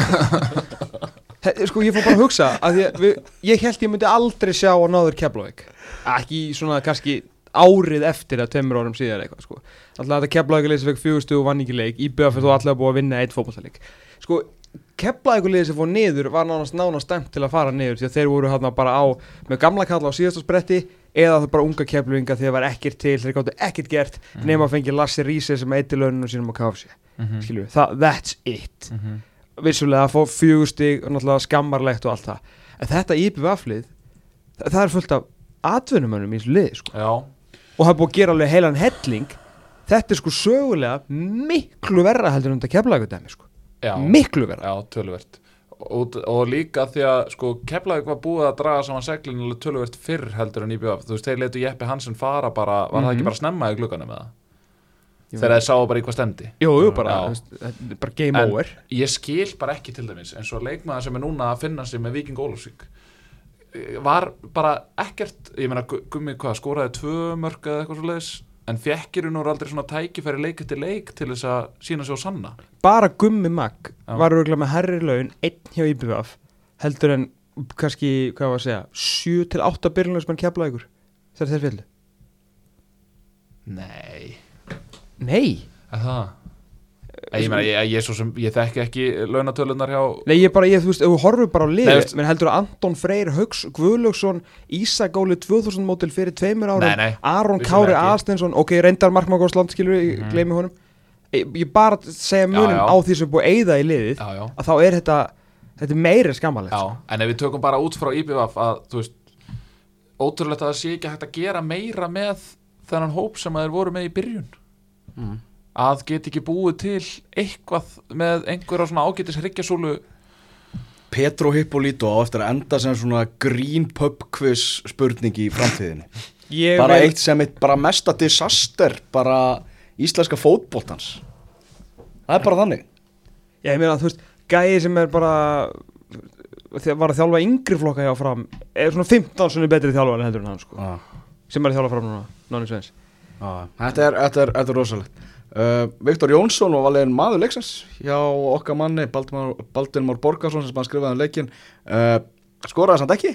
S3: Sko ég fór bara að hugsa að ég, við, ég held ég myndi aldrei sjá á náður Keflavík Ekki í svona kannski árið eftir að tveimur árum síðar eitthvað sko Alltaf þetta Keflavíkuleið sem fekk fjögustu og vann ekki leik Í BF þú alltaf búið að vinna eitt fótballtaleik Sko Keflavíkuleið sem fór niður var nánast nánast stemt til að fara niður Því að þeir voru hérna bara á með gamla kalla á síðasta spretti Eða það bara unga Keflavíka þegar var ekkert til Þeir gáttu ekkert gert nema að fengi Lassi Ríse sem eitt í launinu sínum á KFC skilju, það, that's it mm
S2: Mhm.
S3: vissulega að fá fjögustig og náttúrulega skammarlegt og allt það en þetta IPVF-lið, það, það er fullt af atvinnumönnum í þessu lið sko.
S2: já
S3: og það er búið að gera alveg heilan helling þetta er sko sögulega miklu verra heldur en þetta keflaugudæmi sko.
S2: já,
S3: miklu verra
S2: já, töluvert og, og líka því að sko Keflavík var búið að draga saman seglinu alveg töluvert fyrr heldur en IPVF þú veist, þeir letu Jeppi Hansen fara bara var það
S3: Mhm.
S2: ekki bara snemma í glugganum með það
S3: Jú.
S2: þegar þeir sáu bara í hvað stemdi
S3: jú, jú, bara,
S2: Já.
S3: þú veist, þetta er bara game
S2: En-
S3: over
S2: ég skil bara ekki til dæmis eins og leikmaður sem er núna að finna sig með Viking Ólafsvík eh, var bara ekkert, ég meina Gu- Gummi hvað, skoraði tvö mörg eða eitthvað svo leiðis en fekkirinn voru aldrei svona tækifæri leik eftir leik til þess að sína sig og sanna
S3: bara Gummi Mag
S2: Já.
S3: var örgulega með herri laun einn hjá IPVF heldur en kannski, hvað var að segja 7 til 8 byrjunlegsmenn keflaugur þegar þeir fyllu
S2: Nei,
S3: nei
S2: er það?
S3: Eh,
S2: Ég, meina, ég, ég, svo sem, ég þekki ekki launatölunar hjá
S3: Nei, ég bara, ég, þú veist, ef við horfum bara á
S2: Nei,
S3: liðið
S2: veist-
S3: menn heldur að Anton Freyr, Hauks, Guðlaugsson Ísak Óli 2000 mótil fyrir tveimur árum
S2: Nei, nei,
S3: Aron
S2: vissulega
S3: Kári
S2: ekki. Mhm.
S3: Aðstensson ok, reyndar markmakosland, skilur við, mm. gleymi honum ég, ég bara
S2: Já,
S3: segja munum
S2: já.
S3: á því sem er búið að eyða í liðið
S2: Já, já,
S3: að þá er þetta, þetta er meira skammalegt
S2: já En ef við tökum bara út frá IBVF að, þú veist ótrúlegt að það sé ekki hægt að gera meira með þennan hóp sem að þeir voru með í byrjun
S3: Mm.
S2: að get ekki búið til eitthvað með einhverja svona ágætis hryggjasúlu
S1: Petro Hippolito á eftir að enda sem svona green pub quiz spurning í framtíðinni
S3: ég,
S1: bara
S3: vil-
S1: eitt sem eitt bara mesta disaster bara íslenska fótboltans það er bara þannig
S3: Já, ég meina, þú veist, gæi sem er bara þegar var að þjálfa yngri flokka hjá fram er svona 15 sunni betri þjálfari heldur en hann sko,
S1: ah,
S3: sem er að þjálfa fram núna, Nonni Sveins
S1: ah. Þetta, er, þetta, er, þetta er rosalegt uh, Viktor Jónsson var valinn maður leiksins hjá okkar manni Baldmar, Baldinmar Borgarsson sem hann skrifaði um leikin uh, skoraði samt ekki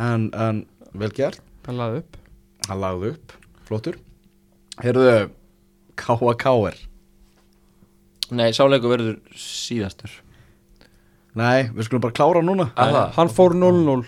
S1: en, en vel gert
S3: hann laði upp
S1: hann lagði upp, flottur heyrðu K.A.K.R
S4: Nei, sáleiku verður síðastur
S1: Nei, við skulum bara klára núna
S2: Er það?
S3: Hann fór 0-0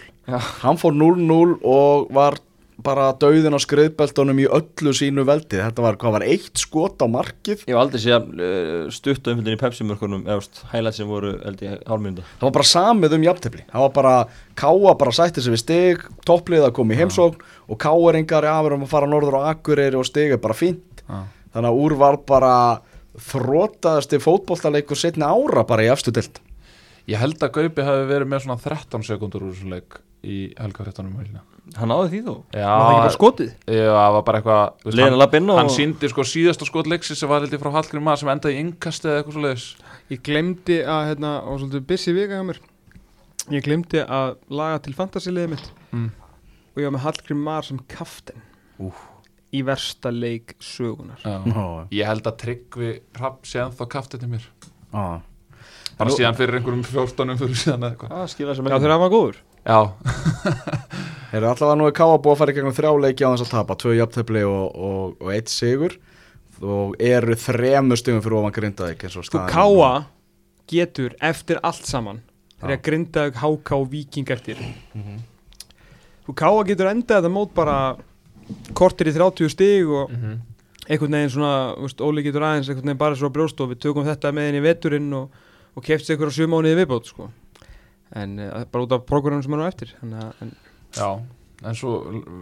S1: Hann fór 0-0 og var bara dauðin á skriðbeltunum í öllu sínu veldi Þetta var, hvað var, eitt skot á markið
S4: Ég hef aldrei séð uh, stutt umfyldin í Pepsi-mörkunum eða hælætt sem voru held ég hálfmynda
S1: Það var bara samið um jafntefli Það var bara, Káa bara sætti sig við stig Topplið að koma í heimsókn Og Káa er engari afur um að fara norður á Akureyri Og stig er bara fínt
S2: Já.
S1: Þannig að úr var bara þrótaðasti fótboltaleikur setna ára bara í afstu delt
S2: Ég held að Gaupi hafi verið með svona 13 sekundur úr þessum leik í helgafréttanum helgina.
S4: Hann náði því þó
S2: Já,
S3: Var það ekki bara skotið?
S2: Já, það var bara eitthvað þú veist,
S4: Leiðin að
S2: hann-
S4: labba inn og-
S2: Hann síndi sko síðasta skot leiksins sem var held ég frá Hallgrim maður sem endaði í innkasti eða eitthvað svo leiðis
S3: Ég glemdi að, hérna, og svolítið busy vika hjá mér Ég glemdi að laga til fantasiliðið mitt
S2: Mm.
S3: Og ég var með Hallgrim Mar sem kaftin Í versta leik sögunar
S1: Já,
S2: Ég held að Tryggvi Rapp sé ennþá kaftið til mér
S1: já
S2: Bara
S1: Nú-
S2: síðan fyrir einhverjum 14 fyrir síðan eða eitthvað
S4: Það skilja sem
S3: Já þeir hafa góður
S2: Já,
S1: Þeir eru allavega nú í Káa búið að fara í gegnum þrjá leiki á þess að tapa, tvö jafntefli og, og, og eitt sigur og eru þremur stugum fyrir ofan Grindavík eins og
S3: Sko
S1: staðan er
S3: Káa
S1: núna.
S3: getur eftir allt saman Þegar grindaðu HK og Víking eftir Sko Káa getur endað þetta mót bara Kortir í 30 stig og einhvern veginn svona þú veist, Óli getur aðeins einhvern veginn bara svo á brjóst og við tökum þetta með inn í veturinn og, og kefti sig einhverja sjö mánuði viðbót sko. en uh, bara út af prógramum sem hann á eftir en, en,
S2: já En svo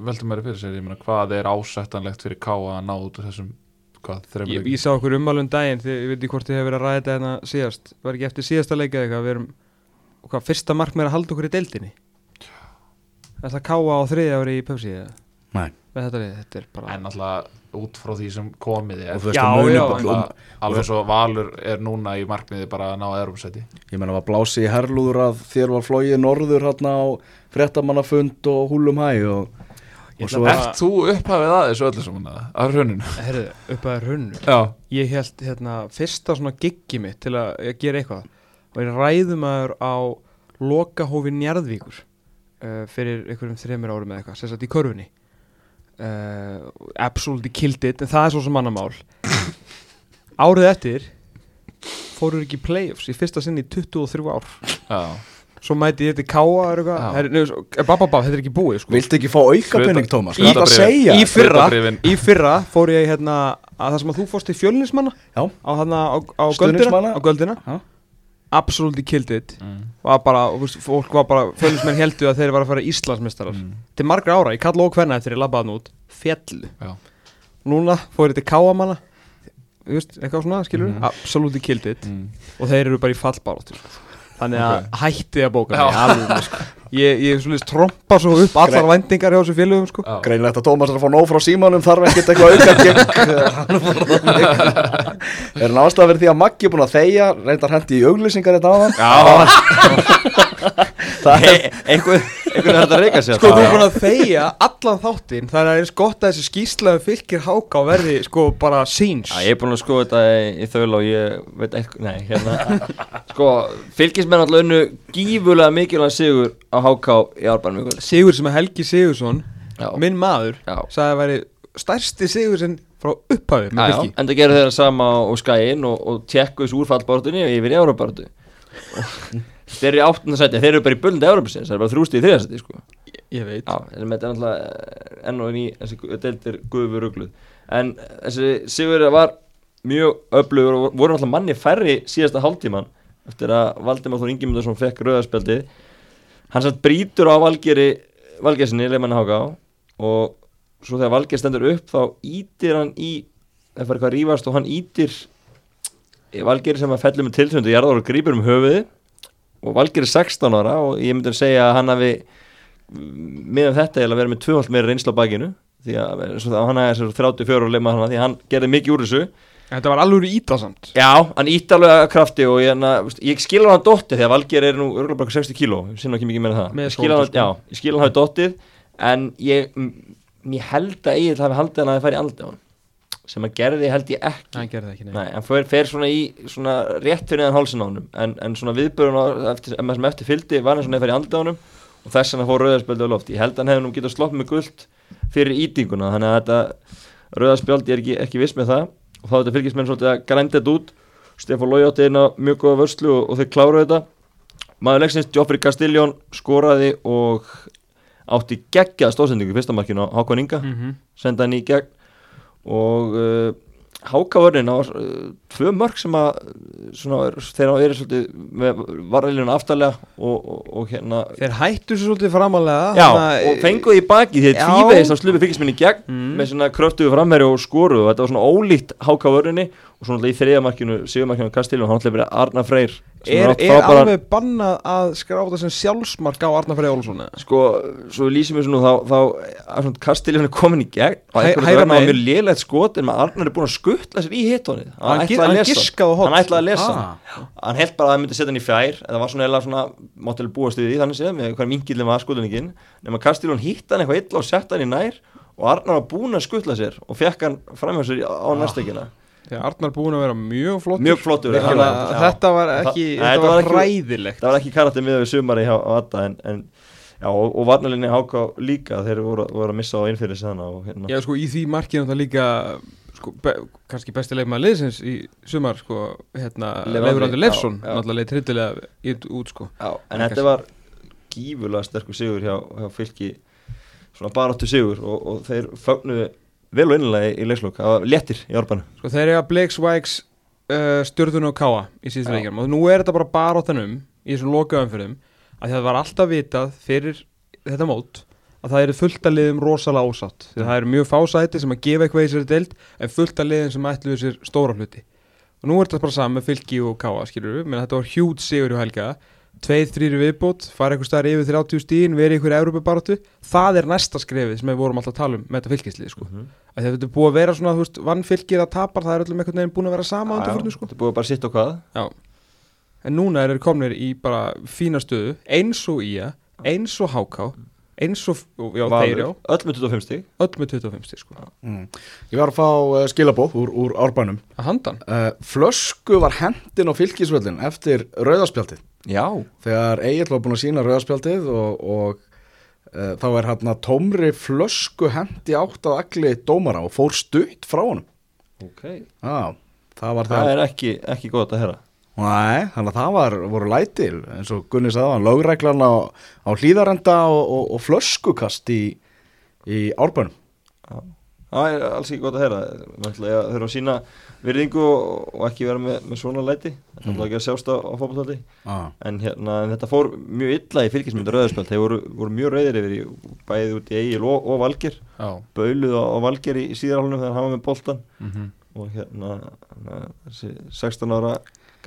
S2: veltum mér fyrir sér, ég meina hvað er ásættanlegt fyrir K að ná út úr þessum hvað, þremur
S3: ég,
S2: leikjum?
S3: ég sá okkur ummálum daginn þegar ég veit ekki hvort þið hefur verið að ræða þetta hérna síðast var ekki eftir síðasta leika eða eitthvað við erum hvað, fyrsta markmið er að halda okkur í deildinni er það káa á þriðja ári í pöpsi eða
S1: Nei.
S3: með þetta lið, þetta er bara
S2: En alltaf út frá því sem komið er
S1: Og þú veist
S3: Já,
S1: að muni
S3: já,
S1: bara-
S2: Bara, alveg svo Valur er núna í markmiði bara að ná erumsæti
S1: Ég meina var blási í herrlúður að þér var flóið norður hérna á frettamannafund og húlum hæ og,
S3: Ég ætla
S1: og svo
S3: bara-
S1: er
S2: Ert þú upphafið að þessu öllu saman að að hruninu?
S3: herðu, upp að runnu
S2: Já,
S3: ég held hérna fyrsta svona giggi mitt til að, að gera eitthvað og ég ræðum aður á lokahófi Njarðvíkur uh, fyrir einhverjum þreymur árum eða eitthvað sem sagt í körfunni uh, absolutely killed it en það er svo sem mannamál árið eftir fóruður ekki í playoffs í fyrsta sinni í 23 ár
S2: já
S3: svo mæti ég þetta káa eða eitthvað
S2: Já.
S3: Herri, nefnir, bababab, þetta er ekki búið sko.
S1: Viltu ekki fá auka
S2: Hluta-
S1: penning, Tómas? Hvað
S2: í-
S1: er að
S2: hlutabréfin.
S1: segja?
S3: í fyrra,
S2: Hlutabréfin.
S3: í fyrra fór ég hérna að það sem að þú fórst í fjölnismanna
S1: Já.
S3: á, hana, á, á, göldina,
S1: Stuðningsmanna.
S3: á göldina
S1: Já. Mm.
S3: absolutely killed it var bara, og þú veist, fólk var bara fjölnismenn heldu að þeir var að fara Íslandsmeistarar
S1: Mm.
S3: til margra ára, ég kalla okkur hvenna eftir ég labbaðan út fjallu,
S2: Já.
S3: núna fór ég til káamanna þú veist, eitthvað svona, skilur
S1: Mm.
S3: absolutely killed it og þeir eru bara í fallbáratu þannig að hætti að bóka
S2: Já.
S3: mig alveg, sko. ég, ég svolítið trompa svo upp allar væntingar hjá þessu félögum sko.
S2: Já.
S1: Greinlegt að Tómas er að fá nóg frá símanum þarf ekkert eitthvað auka gegn Er hann ástæða verið því að Maggi er búin að þegja reyndar hendi í auglýsingar þetta áðan
S2: Já,
S1: Það er
S4: Einhvern veginn er þetta að reyka sér
S3: Sko þú er búin að þegja allan þáttinn Þannig að það er gott að þessi skýrslega fylgir háka og verði sko bara síns
S4: Já, ég er búin að skoða þetta í, í þaula og ég veit eitthvað, nei, hérna Sko, fylgismenn alltaf unnu gífulega mikilvæg sigur á HK í árbænum ykkur
S3: Sigur sem að Helgi Sigursson
S4: Já.
S3: Minn maður
S4: Já.
S3: Sagði að væri stærsti sigur sem frá upphafi með
S4: Já,
S3: fylgi
S4: enda gerðu þeirra sama og skæin og, og tjekku þessu úrfallbártunni og yfir í Európartu Þeir eru í áttunda sæti, þeir eru bara í bullandi Európasins, það er bara þrústi í þriðasæti sko.
S3: Ég, ég veit
S4: Já, en þetta er náttúrulega eh, enn og ný, þessi gu- deild er guður rugluð En eh, þessi Sigur var mjög öflugur og voru náttúrulega manni færri síðasta hálftíman Eftir að Valdimar Þór Ingimundarsson fekk rauðarspjaldið Hann satt brýtur á Valgeri, Valgersinni, leifmanni Háká Og svo þegar Valger stendur upp þá ítir hann í Það fyrir hvað að rífast og hann ítir Valgeri sem að fellur með tiltöndu jarðar og grípur um höfuði og Valgeri er 16 ára og ég myndi að segja að hann hafi meðan þetta er að vera með tvöfald meira reynsla á bakinu því að svo það- hann er svo 34 og leima hana því að hann gerði mikið úr þessu
S3: Þetta var alveg ítasamt
S4: já, hann ítt alveg að krafti og ég, na, ég skilur hann dóttið því að Valgeir er nú örgulega bara 60 kíló, ég sinna ekki mikið meira en það
S3: Með
S4: ég skilur hann,
S3: skóldar, sko.
S4: já, ég skilur hann hafi dóttið en ég, m- ég held að Egil hafi haldið hann að það færi aldrei á hann sem að gerði held ég ekki
S3: Hann gerði það ekki neitt
S4: Nei, en fer, fer svona í svona rétt fyrir neðan hálsin á honum en, en svona viðbörun á- eftir, em- sem eftir fylgdi var hann svona fyrir andlánum og þess vegna fór rauðarspjöldi á lofti ég held að hann hefði nú getað slopp með guld fyrir ítinguna þannig að þetta rauðarspjöldi er ekki, ekki viss með það og þá þetta hérna fylgismenn svolítið að grænda þetta út Stefán Lójátti inn á mjög góða vörslu og, og þeir kláru þetta maður leiksins Joffrey Castelljón skoraði og átti geggjað stóðsendingu í fyrsta markinu á Hákon Inga senda hann í gegn og uh, Hákavörnin á uh, tvö mörg sem að uh, svona, er- þeir hafa verið svolítið með varðiljun aftarlega og, og, og hérna
S3: Þeir hættu svo svolítið framalega
S4: Já,
S3: þannig að-
S4: og fenguð í baki því
S3: eh, Já. Mm.
S4: að tvívegist á slupi fylgisminni gegn með svona kröftuðu framherju og skoruðu þetta var svona ólíkt hákavörðinni og svona náttúrulega í þriðamarkinu, sigurmarkinu á Kastilun hann ætlaði að vera Arna Freyr sem
S3: Er,
S4: átt
S3: er
S4: frábæran-
S3: alveg bannað að skráta sem sjálfsmark á Arnar Freyr Olsson eða?
S4: sko, svo við lýsum þessu nú þá, þá að svona Kastilun er komin í gegn og
S3: Hæ-
S4: einhvern
S3: hægra
S4: veginn var
S3: megin.
S4: mjög lélegt skot en maður Arnar er búin að skuttla sér í hittónið
S3: Hann gi- hann giskaði á horn.
S4: hann ætlaði að lesa
S1: Ah.
S4: hann. hann held bara að hann myndi setja hann í fjær en það var svona eða svona, mátti alveg búast við því þannig séð með hvað mingillin var skotningin nema Kastilun hitt hann eitthvað illa og sett hann í nær og Arnar var búin að skuttla sér og fekk hann framhjá sér í- á
S3: Ah.
S4: næstekina
S3: Þegar Arnar búin að vera mjög flott
S4: mjög flottur
S3: Þannig
S4: Þannig
S3: að
S4: að- já.
S3: Þetta var ekki,
S4: Þa-
S3: þetta var hræðilegt
S4: það var ekki karakter miðað við sumari hjá Adda en, en já, og, og varnalinni háká líka þeir voru, voru að missa á innfyrir sena og hérna
S3: Já sko í því markinu það líka sko, be, kannski besti leikmaður liðsins í sumar sko hérna
S4: Leifur
S3: Leifur
S4: Andri,
S3: Andri Leifsson
S4: já, já.
S3: náttúrulega leit hryllilega í- út sko
S4: já, en þetta var gífurlega sterkur sigur hjá, hjá fylki svona baráttu sigur og, og þeir fögnuðu vel og innlega í leikslokk það var léttir í orðbanu
S3: Sko þeir eiga Blake Swags uh, stjörðun og káa í síðustu
S4: Já.
S3: leikjum og nú er þetta bara baráttanum í þessum lokaumfyrðum að það var alltaf vitað fyrir þetta mót að það eru fullt að liðum rosalega ósátt því að það eru mjög fásæti sem að gefa eitthvað í sér deild en fullt að liðum sem ætluðu sér stóra hluti og nú er þetta bara saman með fylki og káa skilur við, menn þetta var hjút sigur hjá Helga tveið, þrýri viðbót, fara eitthvað staðar yfir 30 stíðin, verið ykkur Európa-baratu það er næsta skrefið sem við vorum alltaf að tala um með þetta fylkislið sko að þetta er búið að vera svona, þú veist, vann fylgir að tapar það er öllum einhvern veginn búin að vera sama undir fyrir sko
S4: þetta er búið að bara sitt á hvað
S3: já. en núna eru þeir komnir í bara fína stöðu, eins og ía eins og háká, eins og já, þeir já,
S4: öll með 25 stík
S3: öll með 25 stig, sko,
S1: Mm. Ég var að fá uh, skilabóð úr, úr árbænum.
S3: að handan
S1: Uh, flösku var hendin á fylgisvöllin eftir rauðaspjaldið.
S4: já,
S1: Þegar Egil var búin að sína rauðaspjaldið og, og uh, þá er hann að tómri flösku hendi átt að agli dómara og fór stutt frá honum.
S4: ok
S1: Já, það var það.
S4: það er ekki, ekki gott að herra
S1: Nei, þannig að það var, voru lætil eins og Gunni sagði hann, lögreglan á, á hlýðarenda og, og, og flöskukast í, í árbænum.
S4: það er alls ekki gott að heyra náttúrulega þurfa að sína virðingu og, og ekki vera með, með svona læti það er
S3: Mm.
S4: náttúrulega ekki að sjást á, á fótballhaldi
S1: Ah.
S4: en hérna, en þetta fór mjög illa í fylgismyndu rauðarspjöld, þeir voru, voru mjög rauðir yfir í, bæði út í Egil og, og Valger
S2: Já,
S4: bauluð á, á Valger í, í síðarhálunum þegar hann var með boltan
S2: mhm
S4: og hérna, hérna þessi 16 ára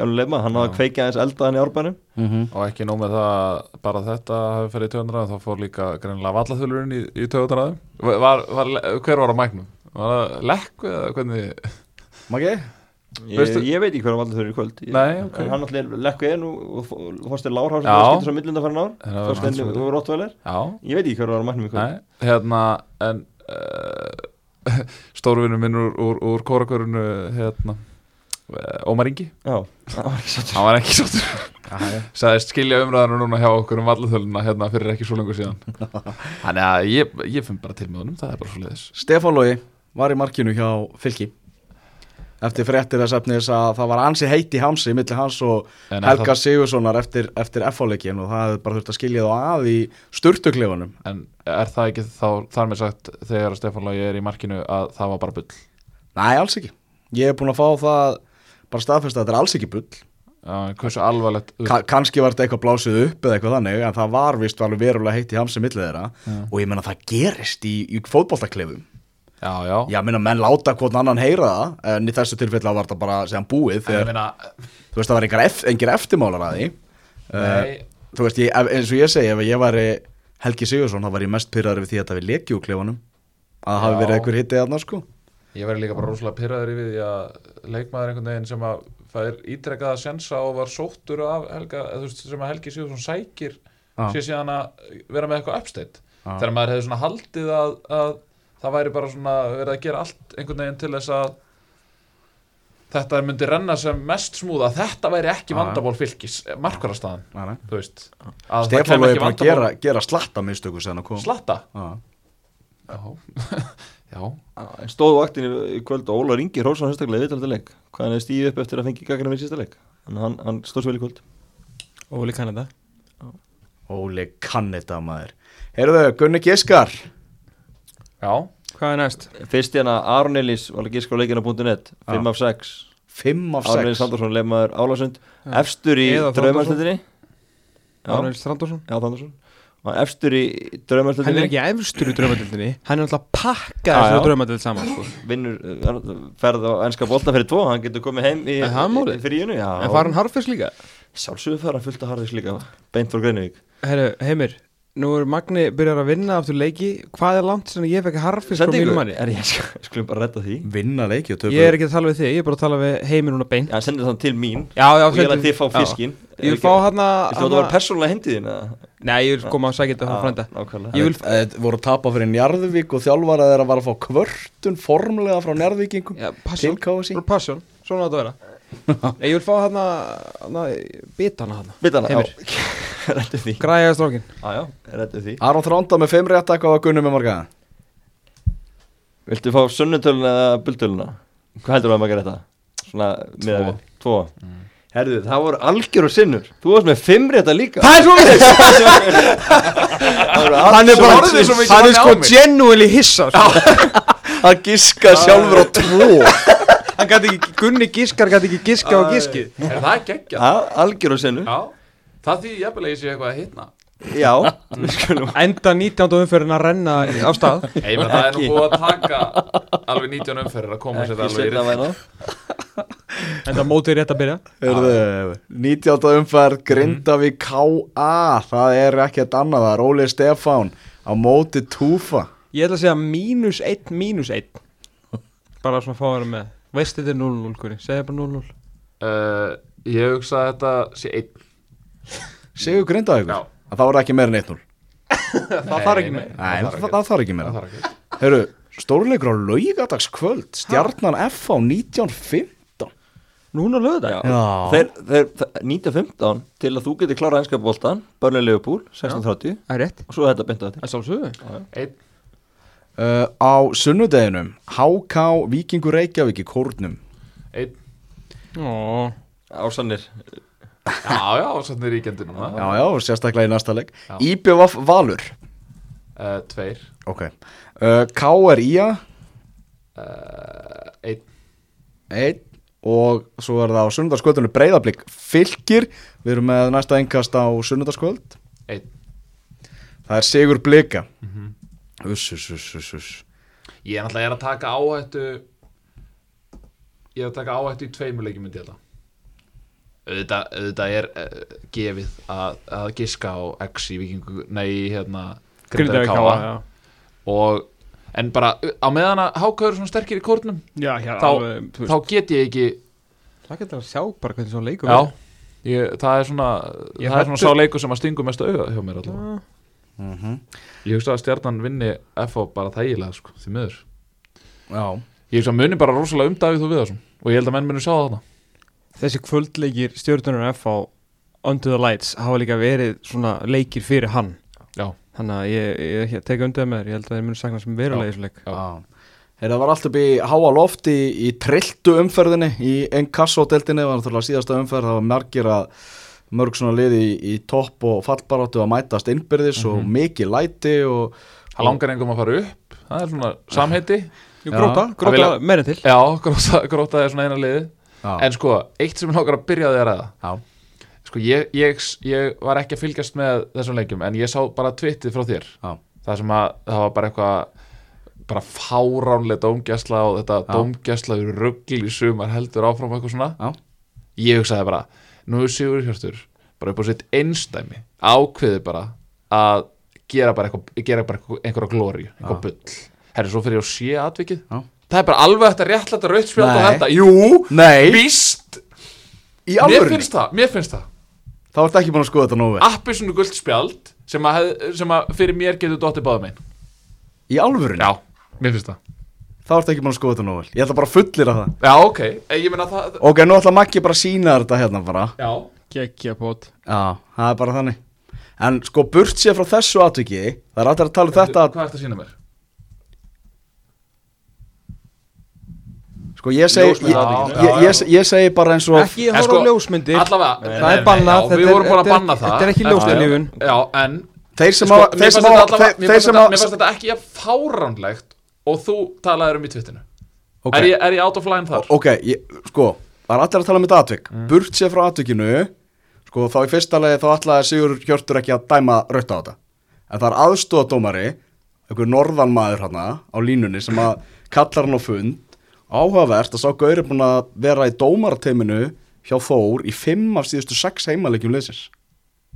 S4: gamlu lefma, hann hafði kveikið aðeins eldaðan í árbænum
S2: og ekki nóg með það að bara þetta hafi farið í töðundraðum þá fór líka greinilega vallathulurinn í, í töðundraðum var, var, hver var á mæknum? var það lekk eða hvernig
S1: Maggi?
S4: ég,
S2: Veistu-
S4: ég veit ekki hverja valdur þau eru í kvöld ég,
S2: Nei, ok.
S4: en hann náttúrulega lekku einu og Þorstin Lárhás sem
S2: Já.
S4: var skiptur svo millunda farin ár
S2: Það var
S4: Þorstin
S2: hans-
S4: og Rottvæler,
S2: já,
S4: ég veit ekki hverja var á mæknum í kvöld
S2: nei, hérna en uh, stórvinur minn úr, úr, úr kórakörunu hérna eh, Ómar Ingi,
S4: Já, það var ekki sáttur
S2: hann var ekki sáttur sagðist skilja umræðanum núna hjá okkur um vallathöluna hérna fyrir ekki svo lengur síðan þannig að ég, ég finn bara til með honum það er bara svo leiðis
S1: Stefán Lógi var í markinu hjá Fylki eftir fréttir þess efnis að það var ansi heiti hamsi millir hans og
S2: En er
S1: Helga Sigurssonar eftir, eftir F-áleikin og það hefði bara þurft að skilja þá að í sturtuklefanum
S2: en er það ekki þá, þar með sagt þegar Stefán Lagi er í markinu að það var bara bull
S1: Nei, alls ekki Ég hef búin að fá það bara staðfest að þetta er alls ekki bull
S2: Já, en hversu alvarlegt þú
S1: Ka kannski var þetta eitthvað blásið upp eða eitthvað þannig en það var vist alveg verulega heitt í hamsi millir þeirra
S2: Já.
S1: og ég meina það gerist í, í fótboltaklefum
S2: Já, já,
S1: Já, meina menn láta hvort annan heyra það en í þessu tilfellu var þetta bara sem búið
S2: En ég
S1: þegar,
S2: meina
S1: þú veist, það var engir, eft- engir eftirmálar að því Eh,
S2: Nei,
S1: þú veist, ég, ef- eins og ég segi ef ég væri Helgi Sigursson þá væri ég mest pyrraður við því að þetta við leki úr klefanum að það hafi
S2: Já.
S1: verið einhver hittið aðna sko
S2: ég verði líka bara rosalega pyrraður yfir því að leikmaður einhvern veginn sem að fær ítrekkaða sensa og var sóttur af Helga, eða þú veist, sem að Helgi Sigurðsson sækir
S1: Já.
S2: sé síðan að vera með eitthvað uppsteitt þegar maður hefði svona haldið að, að það væri bara svona verið að gera allt einhvern veginn til þess að þetta myndi renna sem mest smúða þetta væri ekki
S1: Já, já.
S2: vandamál fylgis markvarastaðan,
S1: Nei, nei.
S2: þú veist að það
S1: Stefán Lói
S2: kæmi ekki
S1: er bara að
S2: vandamál-
S1: gera, gera slatta mistöku sem hann kom
S2: slatta
S1: Já.
S2: já, já
S4: En stóð á vaktinni í kvöld og Óla Ringi Rósson hérstaklega viðtaldi leik hvað hann hefði stíð upp eftir að fengi gaggrina við sísta leik en hann, hann stóð svo vel í kvöld
S3: og líka hann þetta
S1: Óli kanneta maður Heyrðu, Gunni Giskar
S2: Já,
S3: Hvað er næst?
S4: Fyrst hérna Aron Elís var að gíska á leikina.net 5 af 6
S1: 5 af
S4: Aron Elís
S1: 6
S4: Sandarsson leifmaður Álasund Efstur í
S3: Eða Þrándarsson.
S4: draumarslutinni Já,
S3: Arnald Strandarsson
S4: já Þandarsson Og efstur í
S3: Hann er
S4: draumarslutinni
S3: ekki efstur í draumadildinni Hann er alltaf pakkað
S4: Já,
S3: þessu
S4: já.
S3: draumadild saman sko.
S4: Vinnur, eh, ferð á enska bolta fyrir tvo Hann getur komið heim í,
S3: Er það málið?
S4: í fríinu Já,
S3: En var hann harfis líka?
S4: sjálfsögur fer hann fullt að harðis líka Beint fór Greinivík
S3: Herru, heimir Nú er Magni byrjar að vinna aftur leiki Hvað er langt sem ég fekk harfis frá
S4: Sendingu?
S3: mínum manni?
S4: Er ég sk- skulum bara redda því
S1: Vinna leiki og töpu
S3: Ég er ekki að tala við þig, ég er bara að tala við heimir núna beint
S4: Já, hann sendir þann til mín
S3: Já, já,
S4: Og ég
S3: sendu-
S4: læt þið fá
S3: já.
S4: fiskinn
S3: Ég vil fá hann
S4: Þú ætla að vera
S3: að
S4: persónulega hindi þín eða?
S3: Nei, ég vil koma að sækja þetta frá
S4: Já,
S3: frænda
S4: Nákvæmlega
S3: Ég vil
S1: Þetta eh, voru að tapa fyrir Njarðvík og þjálfara þeirra var að fá kvörtun formlega frá Njarðvíkingum
S3: Já,
S1: til
S3: passion
S1: KSI
S3: Frá passion, svona á þetta að vera Nei, Ég vil fá hann að Bita hann að
S4: Vitana,
S3: Heimir.
S4: já, rættu því
S3: Græja strákin
S4: Já, já, rættu því
S1: Aron Þránda með 5 rétt hvað var Gunni með marga
S4: Viltu fá sunnutöluna eða buldöluna? Hvað heldur þú að maður gera þetta? Svona, með við Tvo Mm. Herðu, það voru algjör og sinnur Þú varst með fimm rétta líka
S1: Það er svo við Hann er
S2: Svo orðið svo
S1: bara
S2: mikið
S1: Hann er
S2: manni á
S1: sko
S2: mig.
S1: genuinely hissa sko. Hann giska sjálfur á tvo
S3: Hann gæti ekki, Gunni Giskar gæti ekki giska á giskið
S2: er það geggjað?
S4: Já, algjör og sinnur
S2: Já, það því ég að ég sé eitthvað að hitna
S4: Já, við skulum
S3: Enda 19. umferðin að renna á stað
S2: Ég meina það er nú búið að taka alveg 19 umferðir að koma sér
S4: ekki
S2: alveg í
S4: setna að
S2: rið
S4: væna
S3: Enda mótið rétt að byrja
S1: Heyrðu, 19. umferð Grindavík KA Það er ekkert annað Það er Óli Stefán á móti Túfa
S3: Ég ætla að segja mínus 1, mínus 1 Bara svona fá að vera með Veist þetta er 0-0, Gunni, segja bara 0-0
S2: uh, Ég hugsa að þetta sé einn
S1: Sigur Grindavík
S2: Já.
S1: Það var ekki meira en 1-0
S3: Það þarf ekki
S2: Nei,
S3: með
S1: Nei,
S2: það þarf
S1: það
S2: ekki.
S1: það þarf ekki
S2: Það
S1: meira
S2: þarf ekki
S1: Hörru, stórleikur á laugadagskvöld Stjarnan F á 19.15
S3: Núna lögðu það
S1: Já.
S4: Þeir, þeir, það- 19.15 til að þú getur klárað enska boltan Börnlega Leopold, 16.30
S3: Það er rétt
S4: Og svo þetta beint á þetta
S3: Það sálsögðu
S2: Einn,
S1: uh, Á sunnudeginum HK Víkingur Reykjavík í Kórnum
S2: einn
S3: Ó
S4: Ásannir
S2: Já, já, og svona er ríkjandi núna
S1: Já, já, sérstaklega í næsta leik IBVF Valur
S2: uh, Tveir,
S1: okay. uh, KR IA
S2: uh, einn
S1: einn og svo er það á sunnundarskvöldunum breyðablík fylgir, við erum með næsta engast á sunnundarskvöld,
S2: Einn.
S1: það er Sigur Blika
S2: Mhm.
S1: uss, uss, uss, uss, uss
S2: Ég er náttúrulega er að taka áhættu Ég er að taka áhættu í tveimur leikjum myndi ég þetta auðvitað, auðvitað er uh, gefið að, að giska á X í vikingu, nei í, hérna Grindavík
S3: Grindavík háa
S2: KA. og, en bara uh, á meðan að hákaður er svona sterkir í kórnum
S3: Já, já,
S2: Þá-
S3: alveg, þú
S2: þá get ég ekki
S3: veist, Það getur að sjá bara hvernig svo leikur
S2: já, ég, það er svona
S3: Ég
S2: það er svona
S3: hræddur-
S2: sá leikur sem að stingu mest auða hjá mér allavega ég hugsa að stjarnan vinni FH bara þægilega sko, því miður
S1: Já,
S2: ég hugsa að muni bara rosalega um Davíð og Viðarsson og ég held að menn muni sjá það þarna
S3: Þessi kvöldleikir stjórnunar F á Under the Lights hafa líka verið svona leikir fyrir hann
S2: já,
S3: Þannig að ég, ég, ég tek undir það með þér, ég held að þeir munu sakna sem verulega í þessu leik
S2: Já.
S1: já Heyrðu, það var allt upp í háa lofti í, í trilltu umferðinni, í Enkasso-deltinni, það var náttúrulega síðasta umferð, það var margir að mörg svona liði í, í topp og fallbaráttu að mætast innbyrðis
S2: Mhm.
S1: og mikið læti og
S2: það langar engum að fara upp það er svona samheiti
S3: Jú,
S1: Já.
S3: gróta,
S2: Það
S3: gróta
S2: vilja-
S3: meira en til
S2: já, gróta, gróta er svona eina liði
S1: Já.
S2: en sko, eitt sem langar að byrja á því að ræða
S1: Já.
S2: sko, ég, ég, ég var ekki að fylgjast með þessum leikjum en ég sá bara tvittið frá þér
S1: Já.
S2: það sem að það var bara eitthvað bara fáránlega dómgæsla og þetta
S1: Já.
S2: dómgæsla eru ruggl í sumar heldur áfram og eitthvað svona
S1: Já.
S2: ég hugsaði bara, nú er Sigur Hjörstur bara upp á sitt einstæmi ákveði bara að gera bara, eitthvað, gera bara eitthvað, einhverja glóri eitthvað bull, herri svo fyrir ég að sé atvikið
S1: Já.
S2: það er bara alveg þetta réttlætt að rautspjálta
S1: Nei.
S2: þetta, jú,
S1: Nei,
S2: víst
S1: í
S2: mér
S1: alvörni,
S2: finnst það, mér finnst það
S1: þá ertu ekki búin að skoða þetta nógu vel.
S2: appisunu gult spjald sem að, hef- sem að fyrir mér getur dottið báðum einn
S1: Í alvörni?
S2: já, mér finnst það
S1: Þá ertu ekki búin að skoða þetta nóg vel. Ég ætla bara að fullir að það.
S2: Já, ok, Eh, ég meina það
S1: Ok, nú ætla Maggi bara að sína þetta hérna bara.
S2: Já,
S3: Gekkja bót
S1: Já, það er bara þannig. En sko, burt sér frá þessu atviki, það er alltaf að tala um þetta
S2: Hvað ertu að sína mér?
S1: Sko ég segi ég,
S2: Ljósmynd. Já,
S1: ég,
S2: já,
S1: ég, ég segi bara eins og
S3: Ekki
S2: En
S3: horfa
S2: sko,
S3: á ljósmyndir
S2: allavega
S3: Það
S2: nei,
S3: er
S2: nei,
S3: bannað,
S2: já,
S3: þetta
S2: við
S3: er-
S2: vorum búin að
S3: þetta er
S2: banna
S3: ekki-
S2: það
S3: þetta er ekki
S2: Já,
S3: ljóstilífun.
S2: já, já, en
S1: þeir sem
S2: sko,
S1: á
S2: mér
S1: þeir
S2: fannst
S1: sem á
S2: þetta allavega- mér
S1: þeir
S2: fannst
S1: sem
S2: þetta- mér
S1: á
S2: fannst þetta ekki jafn fáránlegt og þú talaðir um í tvittinu
S1: Ok.
S2: er, ég- er ég out of line þar?
S1: Ok, ég, sko, það er allir að tala um þetta atvik
S2: Mm.
S1: Burt sér frá atvikinu Sko, þá í fyrsta lagi þá ætlaði Sigur Hjörtur ekki að dæma rautt á þetta En það er aðstóðadómari einhver norðan maður hana á línunni sem að kallar hann á fund Áhugavert að sá Gaur er búin að vera í dómarateiminu hjá Þór í fimm af síðustu sex heimaleikjum liðsins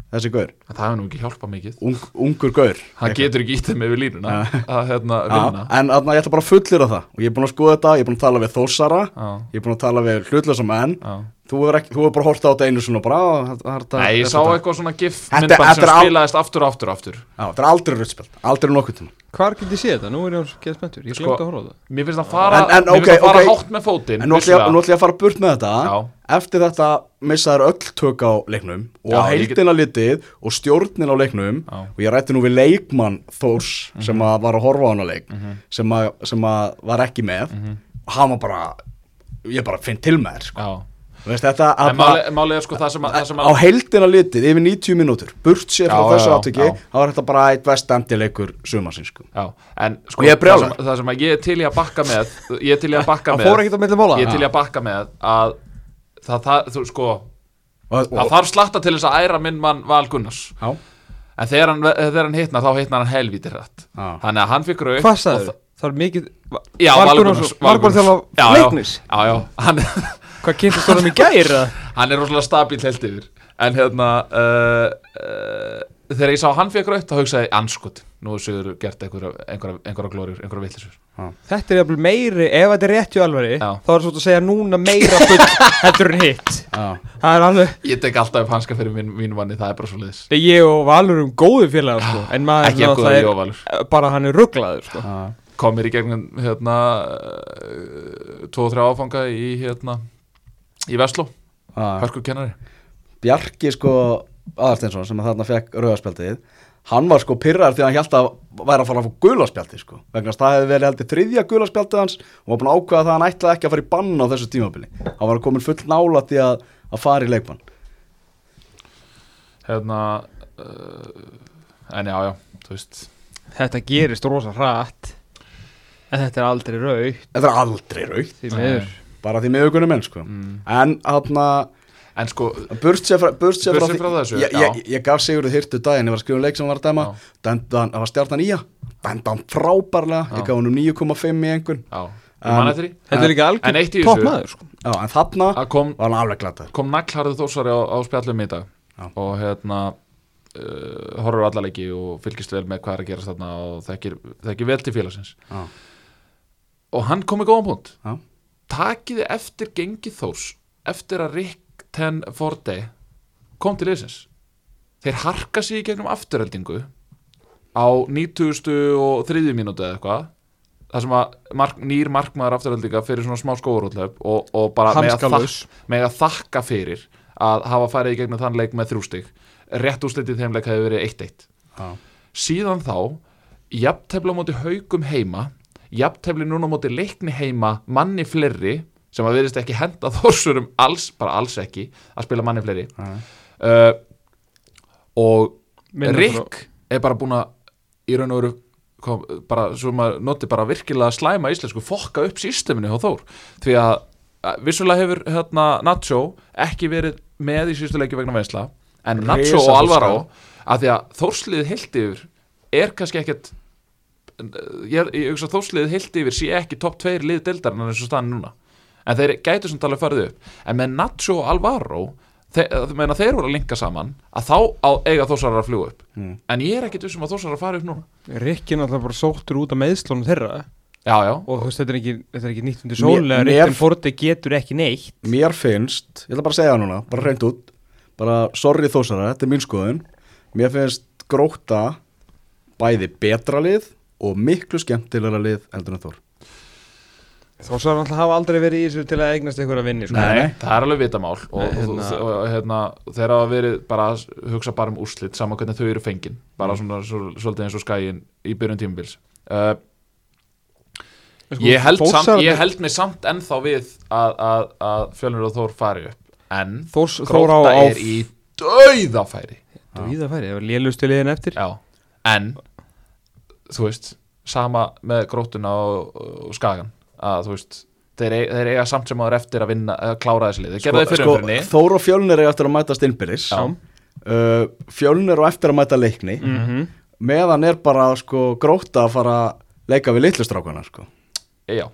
S1: Þessi Gaur,
S2: það hefur nú ekki hjálpað mikið
S1: ung, ungur Gaur
S2: hann getur ekki íttið með við línuna að hérna
S1: Já,
S2: vinna
S1: en þarna ég ætla bara að fullera það og ég er búin að skoða þetta, ég er búin að tala við Þórsara
S2: Já.
S1: ég er búin að tala við hlutlösa menn
S2: Já.
S1: þú hefur, ekki, þú hefur bara horta á þetta einu svona og bara, á, það, það, það,
S2: Nei, ég
S1: þetta-
S2: sá eitthvað svona gif
S1: Þetta-
S2: myndband sem
S1: þetta er á-
S2: spilaðist aftur og aftur og aftur
S1: Já, þetta er aldrei röddspil, aldrei nokkuð tíma
S3: Hvar get ég séð þetta? Nú er ég að geða spenntur Ég
S2: Sko-
S3: glemt að horfa á það
S2: Mér finnst það fara,
S1: En- en
S2: mér finnst
S1: ok,
S2: það fara
S1: ok.
S2: hátt með fótinn
S1: En nú ætla ég-
S2: vissulega.
S1: nú ætla ég að fara burt með þetta
S2: Já.
S1: Eftir þetta missaður öll tök á leiknum og
S2: Já,
S1: á
S2: ég get-
S1: heildina litið og stjórnin á leiknum
S2: Já. Mhm.
S1: og ég rætti nú við leikmann Þórs sem að var að horfa á hana leik sem, að, sem að var ekki með
S2: Mhm.
S1: og hann var bara ég bara finn til með þér sko.
S2: Já.
S1: Þú veist, þetta,
S2: En máli- málið er sko það sem að, það sem
S1: á
S2: að
S1: heildina litið yfir 90 mínútur burt sér frá
S2: Já,
S1: þessu
S2: já,
S1: aftöki
S2: já.
S1: þá er þetta bara eitt vestemdileikur sumarsins sko.
S2: Já, en sko
S1: Og ég er
S2: það,
S1: brjálaður.
S2: sem, það sem að ég er til í að bakka með Ég er til í að bakka
S3: Það
S2: með
S3: fór ekkert á milli mála.
S2: Ég er til í að bakka með að það, það, þú, sko,
S1: og,
S2: það þarf slatta til þess að æra minn mann Val Gunnars
S1: já,
S2: En þegar hann, þegar hann hitnar þá hitnar hann helvítir rætt
S1: Já.
S2: Þannig að hann fikk rauð
S3: Hvað sagður? Það er mikið
S2: Já, Val Gunnars
S3: Valgur þjálfa leiknis
S2: Já, já, hann,
S3: Hvað kynntist það um í gæri?
S2: hann er rosalega stabíl held yfir En hérna uh, uh, Þegar ég sá að hann fikk rauð þá hugsaði ég anskot Nú hefur gert einhverja, einhverja, einhverja glóriur, einhverja villisur
S3: Þetta er jafnvel meiri, ef þetta er rétt í alveri
S2: Já.
S3: Þá er svona að segja núna meira full Heldur en hitt
S1: já.
S3: Það er alveg
S2: Ég tek alltaf upp hanska fyrir mín, mín manni, það er bara svo liðis
S3: Nei, Ég og Valur um góðu félagar sko En maður
S2: Ekki
S3: svona,
S2: að
S3: það
S2: góða
S3: er-
S2: jóvalur
S3: Bara hann er rugglaður sko
S2: Komir í gegnum hérna eh, Tvo og þrjá áfanga í hérna Í Vestló,
S1: já.
S2: hörku kennari
S1: Bjarki sko Aðarsteinsson sem að þarna fekk rauðarspjaldið hann var sko pyrrar því að hann held að væri að fara að fá gulaspjaldi sko vegna þess að það hefði verið heldur þriðja gulaspjaldið hans og var búin að ákveða það að hann ætlaði ekki að fara í bann á þessu tímabili hann var komin full nála því að, að fara í leikmann
S2: Hérna uh, En já, já, þú veist
S3: Þetta gerist rosa hratt En þetta er aldrei raug
S1: þetta er aldrei rauð
S3: Því miður
S1: bara því með augunum enn sko
S2: Mm.
S1: en hann
S2: En sko,
S1: Burt sér frá, burt sér
S2: Burt
S1: frá,
S2: séð
S1: því-
S2: frá þessu,
S1: ég,
S2: já.
S1: ég, ég gaf Sigurður hirtu daginn, ég var að skrifa um leik sem hann var að dæma
S2: Já.
S1: Dæmdan, það var stjarnan í að Dæmda hann frábærlega, ég
S2: Já.
S1: gaf hann um 9,5 í engun
S2: já, um,
S1: En-
S2: mann eftir því
S3: Þetta er líka
S2: En eitt í
S3: algjör
S2: þessu-
S3: topp maður sko
S1: Já, en þarna
S2: Að kom,
S1: var hann alveg glatað
S2: kom naglharðu þósari á, á spjallum í dag
S1: Já.
S2: Og hérna uh, Horfur alla leiki og fylgist vel með hvað er að gerast þarna Og þekkir, þekkir vel til félagsins
S1: Já,
S2: Og hann kom í góðan punkt
S1: já,
S2: takiði eftir gengi Þórs eftir að Rick Ten Forte kom til liðsins þeir harka sig í gegnum afturöldingu á 90. og 3. mínútu eða eitthvað það sem að mark, nýr markmaður afturöldinga fyrir svona smá skóurútlöf og, og bara mega
S3: Hanskalaus.
S2: þak- mega þakka fyrir að hafa farið í gegnum þann leik með þrjústig rétt úrslitið þeim leik hefði verið 1-1
S1: já,
S2: síðan þá jafntefla á móti haugum heima jafntefli núna á móti leikni heima manni fleiri sem að verðist ekki henda þórsurum alls, bara alls ekki að spila manni fleiri uh, og
S3: Minna
S2: Rick er bara búin að í raun og veru kom, bara, svo maður noti bara virkilega slæma íslensku fokka upp systeminu hjá Þór því að að vissulega hefur hérna, Nacho ekki verið með í síðustu leikju vegna veinsla en Nacho og
S1: Risastór
S2: Alvaro
S1: skaði.
S2: að því að Þórsliðið heilt yfir er kannski ekkert ég, er- ég hugsa að Þórsliðið heilt yfir sé ekki topp tveir lið deildarinnar eins og staðan núna en þeir gætu sem talað farið upp en með Nacho og Alvaro þeir, meina þeir voru að linka saman að þá á, eiga Þórsarar að fljúa upp en ég er ekkit vissum að Þórsarar fari upp núna
S3: Rikki náttúrulega bara sóttur út af meðslónum þeirra
S2: já, já,
S3: Og þú veist, þetta er ekki, þetta er ekki nýtt undir
S1: Mér-
S3: sólega
S1: mér-
S3: Rikki Forte getur ekki neitt
S1: Mér finnst, ég ætla bara að segja það núna, bara reynd út Bara, sorry þósara, þetta er mín skoðun Mér finnst gróta bæði betra lið og miklu skemmtilegra lið heldur en þór
S3: Þá svo hann alltaf hafa aldrei verið í þessu til að eignast einhverja vinni sko.
S1: Nei, nei.
S2: það er alveg vitamál og, og,
S3: Hérna-
S2: og, og hérna, þeir hafa verið bara að hugsa bara um úrslit saman hvernig þau eru fengin
S3: Mm.
S2: bara svona svo, svolítið eins og skæin í byrjun tímabils uh,
S3: Sko,
S2: Ég held,
S3: Þór
S2: samt,
S3: sagði-
S2: ég held mig samt ennþá við að, að, að fjölnir og Þór fari upp En
S3: Þórs, Þór á,
S2: Gróta
S3: á
S2: er í dauðafæri
S3: Dvíðafæri, það var lélustu liðin eftir
S2: Já, en þú veist, sama með grótuna og, og skagan að þú veist, þeir, eig- þeir eiga samt sem áður eftir að vinna, að klára þessi lið þeir
S1: Sko,
S2: gerðu þið fyrir umfyrinni
S1: Þór og Fjölnir er eftir að mætast innbyrðis
S2: Já.
S1: uh, Fjölnir og eftir að mæta leikni meðan er bara sko gróta að fara að leika við litlustrákana sko.
S2: Já,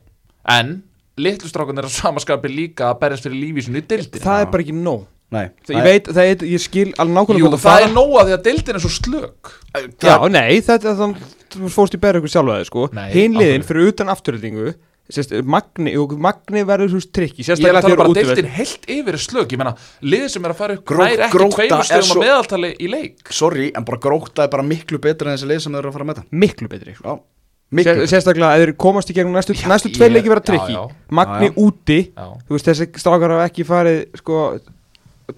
S2: en litlu strákan er að samaskapi líka að berjast fyrir lífi sinni í dildin
S3: Það er bara ekki nóg
S1: Nei,
S3: Ég veit, það er, ég skil alveg nákvæmlega
S2: Jú,
S3: hvað
S2: það
S3: fara.
S2: er nóga því að dildin er svo slök
S3: Já, nei, þetta er þannig Þú fórst í berðu ykkur sjálfa þig, sko
S2: Nei,
S3: Hinn liðin
S2: af hverju?
S3: fyrir utan afturöldingu Sérst, magni, og magni verður svo trikki
S2: Ég er
S3: Sérstaklega
S2: að tala
S3: þegar
S2: bara að
S3: útivellir.
S2: deildin heilt yfir er slök Ég meina, liðið sem er að fara upp
S1: Gró-
S2: nær ekki
S1: Grótta
S2: tveimur
S1: er
S2: stegum
S1: svo-
S2: að meðaltali í leik
S1: Sorry, en bara gróta er bara miklu betra en þessi lið sem þeir eru að fara að mæta
S3: Miklu betri, sko
S1: Já, miklu
S3: Sér, sérstaklega ef þeir komast í gegnum næstu, næstu tveir
S2: ég-
S3: leiki verða
S2: já,
S3: trikki
S2: já.
S3: Magni
S1: Já, já.
S3: úti
S2: Já.
S3: þú veist þessi strákar hafa ekki farið sko,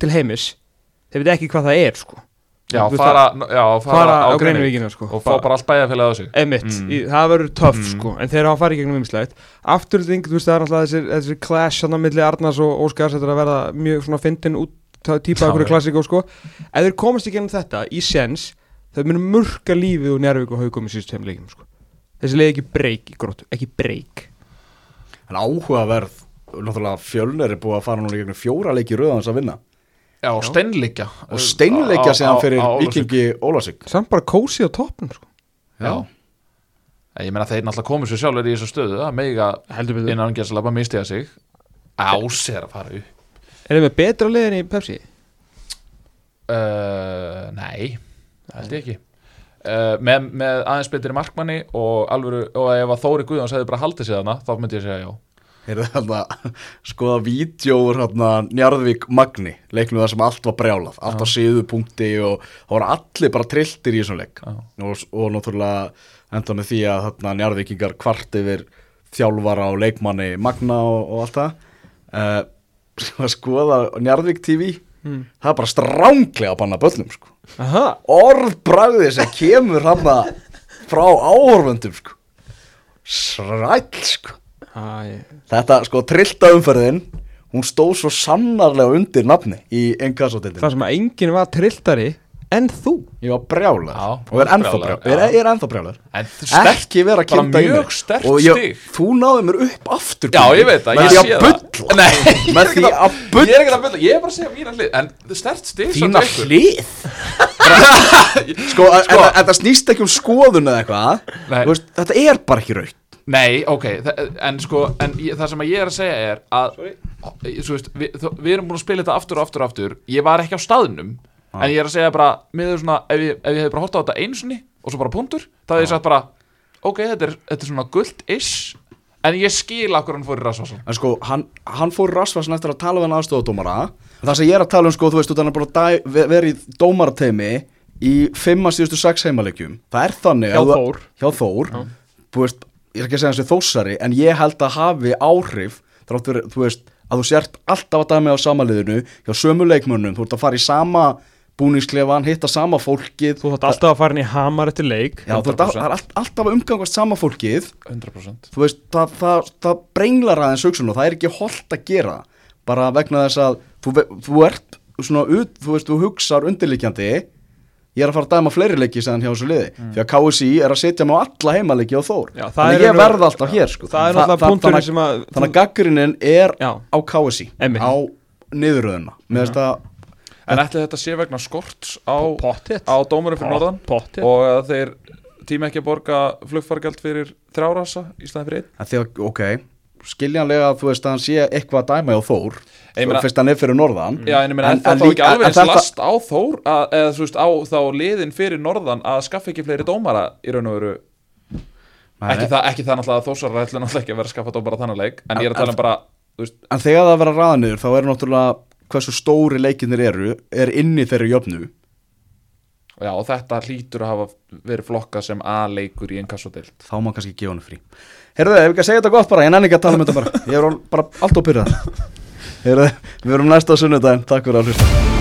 S3: til heimis þeir veit ekki hvað það er sko.
S2: Já,
S3: Þú veist,
S2: fara, já, fara,
S3: fara á
S2: Grenivík
S3: Grenivíkina, sko.
S2: Og fá bara allt bæjarfélagið á sig
S3: það- einmitt, í, það verður töff sko, en þeir hafa farið í gegnum ymmislegt afturlýting, þú veist það er alltaf þessi, þessi clash hann á milli Arnars og Óskars þetta er að verða mjög svona fyndin út típa
S2: Já,
S3: okkur
S2: já.
S3: klassíku sko ef þeir komast í gegnum þetta í sens þau munum mörka lífið og njárvík og haugum í síðust tveim leikum sko. þessi leik ekki breyk í gróttu, ekki breyk
S1: En áhugaverð, náttúrulega fjölnir er búið að fara núna í gegnum fjóra leiki rauðans að vinna
S2: Já, og steinleikja
S1: og steinleikja
S2: Á-
S1: séðan
S2: á-
S1: fyrir
S2: á Ólafsvík.
S1: vikingi Ólasík
S3: samt bara kósi á toppnum sko.
S2: Já En Ég meina þeir náttúrulega komið sér sjálfur í þessu stöðu að meiga
S3: heldur betur
S2: innan gerðslega bara mistiða sig Ás er að fara upp
S3: Er það með betra liðin í Pepsi?
S2: uh, Nei, held ég ekki uh, með, með aðeins betur í markmanni og, alvöru, og ef að Þóri Guðjóns hefði bara haldið sér þarna þá myndi ég segja já
S1: Heyrðu þarna, skoða vídjóur hérna Njarðvík Magni, leiknum það sem allt var brjálað, allt var síðupunkti og það voru allir bara trilltir í þessum leik
S2: Já.
S1: og, og náttúrulega enda með því að þarna Njarðvíkingar kvart yfir þjálfara og leikmanni Magna og, og allt það uh, að skoða Njarðvík TV
S2: Hmm.
S1: það er bara stránglega að banna böllum sko.
S3: Aha
S1: orðbragði sem kemur hann frá áhorfundum sko. sræll sko
S3: Æ,
S1: Þetta sko trillta umferðin Hún stóð svo sannarlega undir nafni Í engasotildin
S3: Það sem að enginn var trilltari en þú
S1: Ég var brjálar
S2: Já,
S1: og er ennþá
S2: brjálaður,
S1: brjálar Ég er,
S2: já.
S1: ég er ennþá brjálar
S2: En sterk-
S1: Ekki vera að
S2: bara
S1: kynda í
S2: mjög
S1: mig.
S2: sterkt
S1: Og ég-
S2: stig.
S1: Þú náði mér upp aftur
S2: Já,
S1: Pétur,
S2: ég veit það,
S1: Með
S2: ég
S1: því
S2: sé
S1: að
S2: það.
S1: bulla
S2: Nei,
S1: Með því að
S2: Ég
S1: bulla
S2: er ekki að byrja, ég er bara að segja mína hlið En stert stig
S1: Þína hlið Sko, en- en en það snýst ekki um skoðun eða eitthvað
S2: Nei.
S1: Þú veist, Þetta er bara ekki raut
S2: Nei, ok, þa- en sko en ég, það sem að ég er að segja er að þú veist, við, þó- við erum búin að spila þetta aftur og aftur og aftur, ég var ekki á staðnum en ég er að segja bara, miður svona ef ég, ef ég hefði bara hótt á þetta einu sinni og svo bara punktur, þá hefði ég sagt bara ok, þetta er, þetta er svona guld-ish en ég skil akkur hann fór í rasvarsson
S1: En sko, hann, hann fór Rasvarsson eftir að tala við hann aðstofadómara Það sem ég er að tala um, sko, þú veist, þú er bara að dæ- ve- verið í dómarateimi í fimma síðustu sex heimaleikjum Það er þannig
S3: Hjá
S1: að þú-
S3: Þór.
S1: Hjá Þór, þú veist, ég er ekki að segja hans við þósari En ég held að hafi áhrif Þráttur, þú veist, að þú sért alltaf að dæmi á samaliðinu Hjá sömu leikmönnum, þú ert að fara í sama búningsklefan, hitta sama fólkið
S3: Þú þátt alltaf að fara inn í hamar eftir leik
S1: Já, þú ert að, það er all, alltaf að umgangast sama fólkið
S2: 100%
S1: þú veist, það, það, það brenglar aðeins hugsun og það er ekki holdt að gera bara vegna þess að þú, ve- þú ert svona, ut, þú veist, þú hugsar undirlikjandi ég er að fara að dæma fleiri leiki sem hjá þessu liði,
S2: Mm.
S1: því að KSI er að setja mig á alla heimaleiki á Þór
S3: Já, það
S1: þannig
S3: er
S1: ég
S3: nú-
S1: verð alltaf hér sko.
S3: það er náttúrulega punkturinn
S1: þannig-
S3: sem að-
S1: þannig að gaggrinin er
S3: Já.
S1: á KSI,
S3: Einmitt.
S1: á niðuröðuna með þetta
S2: En ætli þetta sé vegna skorts á,
S3: Pottet.
S2: á dómurum fyrir norðan
S3: Potti
S2: og að þeir tíma ekki að borga flugfargjald fyrir þrjárasa í staðin fyrir einn
S1: að því að, ok, skiljanlega þú veist að hann sé eitthvað að dæma hjá Þór
S2: Ég meina-
S1: fyrst hann er fyrir norðan
S2: Mm. Já, en ég meina, er það þá
S1: líka-
S2: ekki alveg
S1: en
S2: eins
S1: þetta-
S2: last á Þór að, eða þú veist, á þá liðin fyrir norðan að skaffa ekki fleiri dómara í raun og veru
S1: Nei,
S2: ekki, það, ekki það náttúrulega að Þórsar ætla náttúrulega ekki að vera að skaffa dómara þannig leik en ég er að tala um bara, þú veist,
S1: En þegar það verða raðanir þá er náttúrulega hversu stóri leikinir eru er inni þeirri jöfnu
S2: já, og þetta hlýtur að hafa verið flokka sem A-leikur í inkassodeild
S1: þá má kannski gefa hann frí Herðu, ef við ekki að segja þetta gott bara, ég nenni ekki að tala um þetta bara Ég er orðinn bara allt á pyrraðar Herðu, við verum næsta á sunnudaginn, takk fyrir að hlusta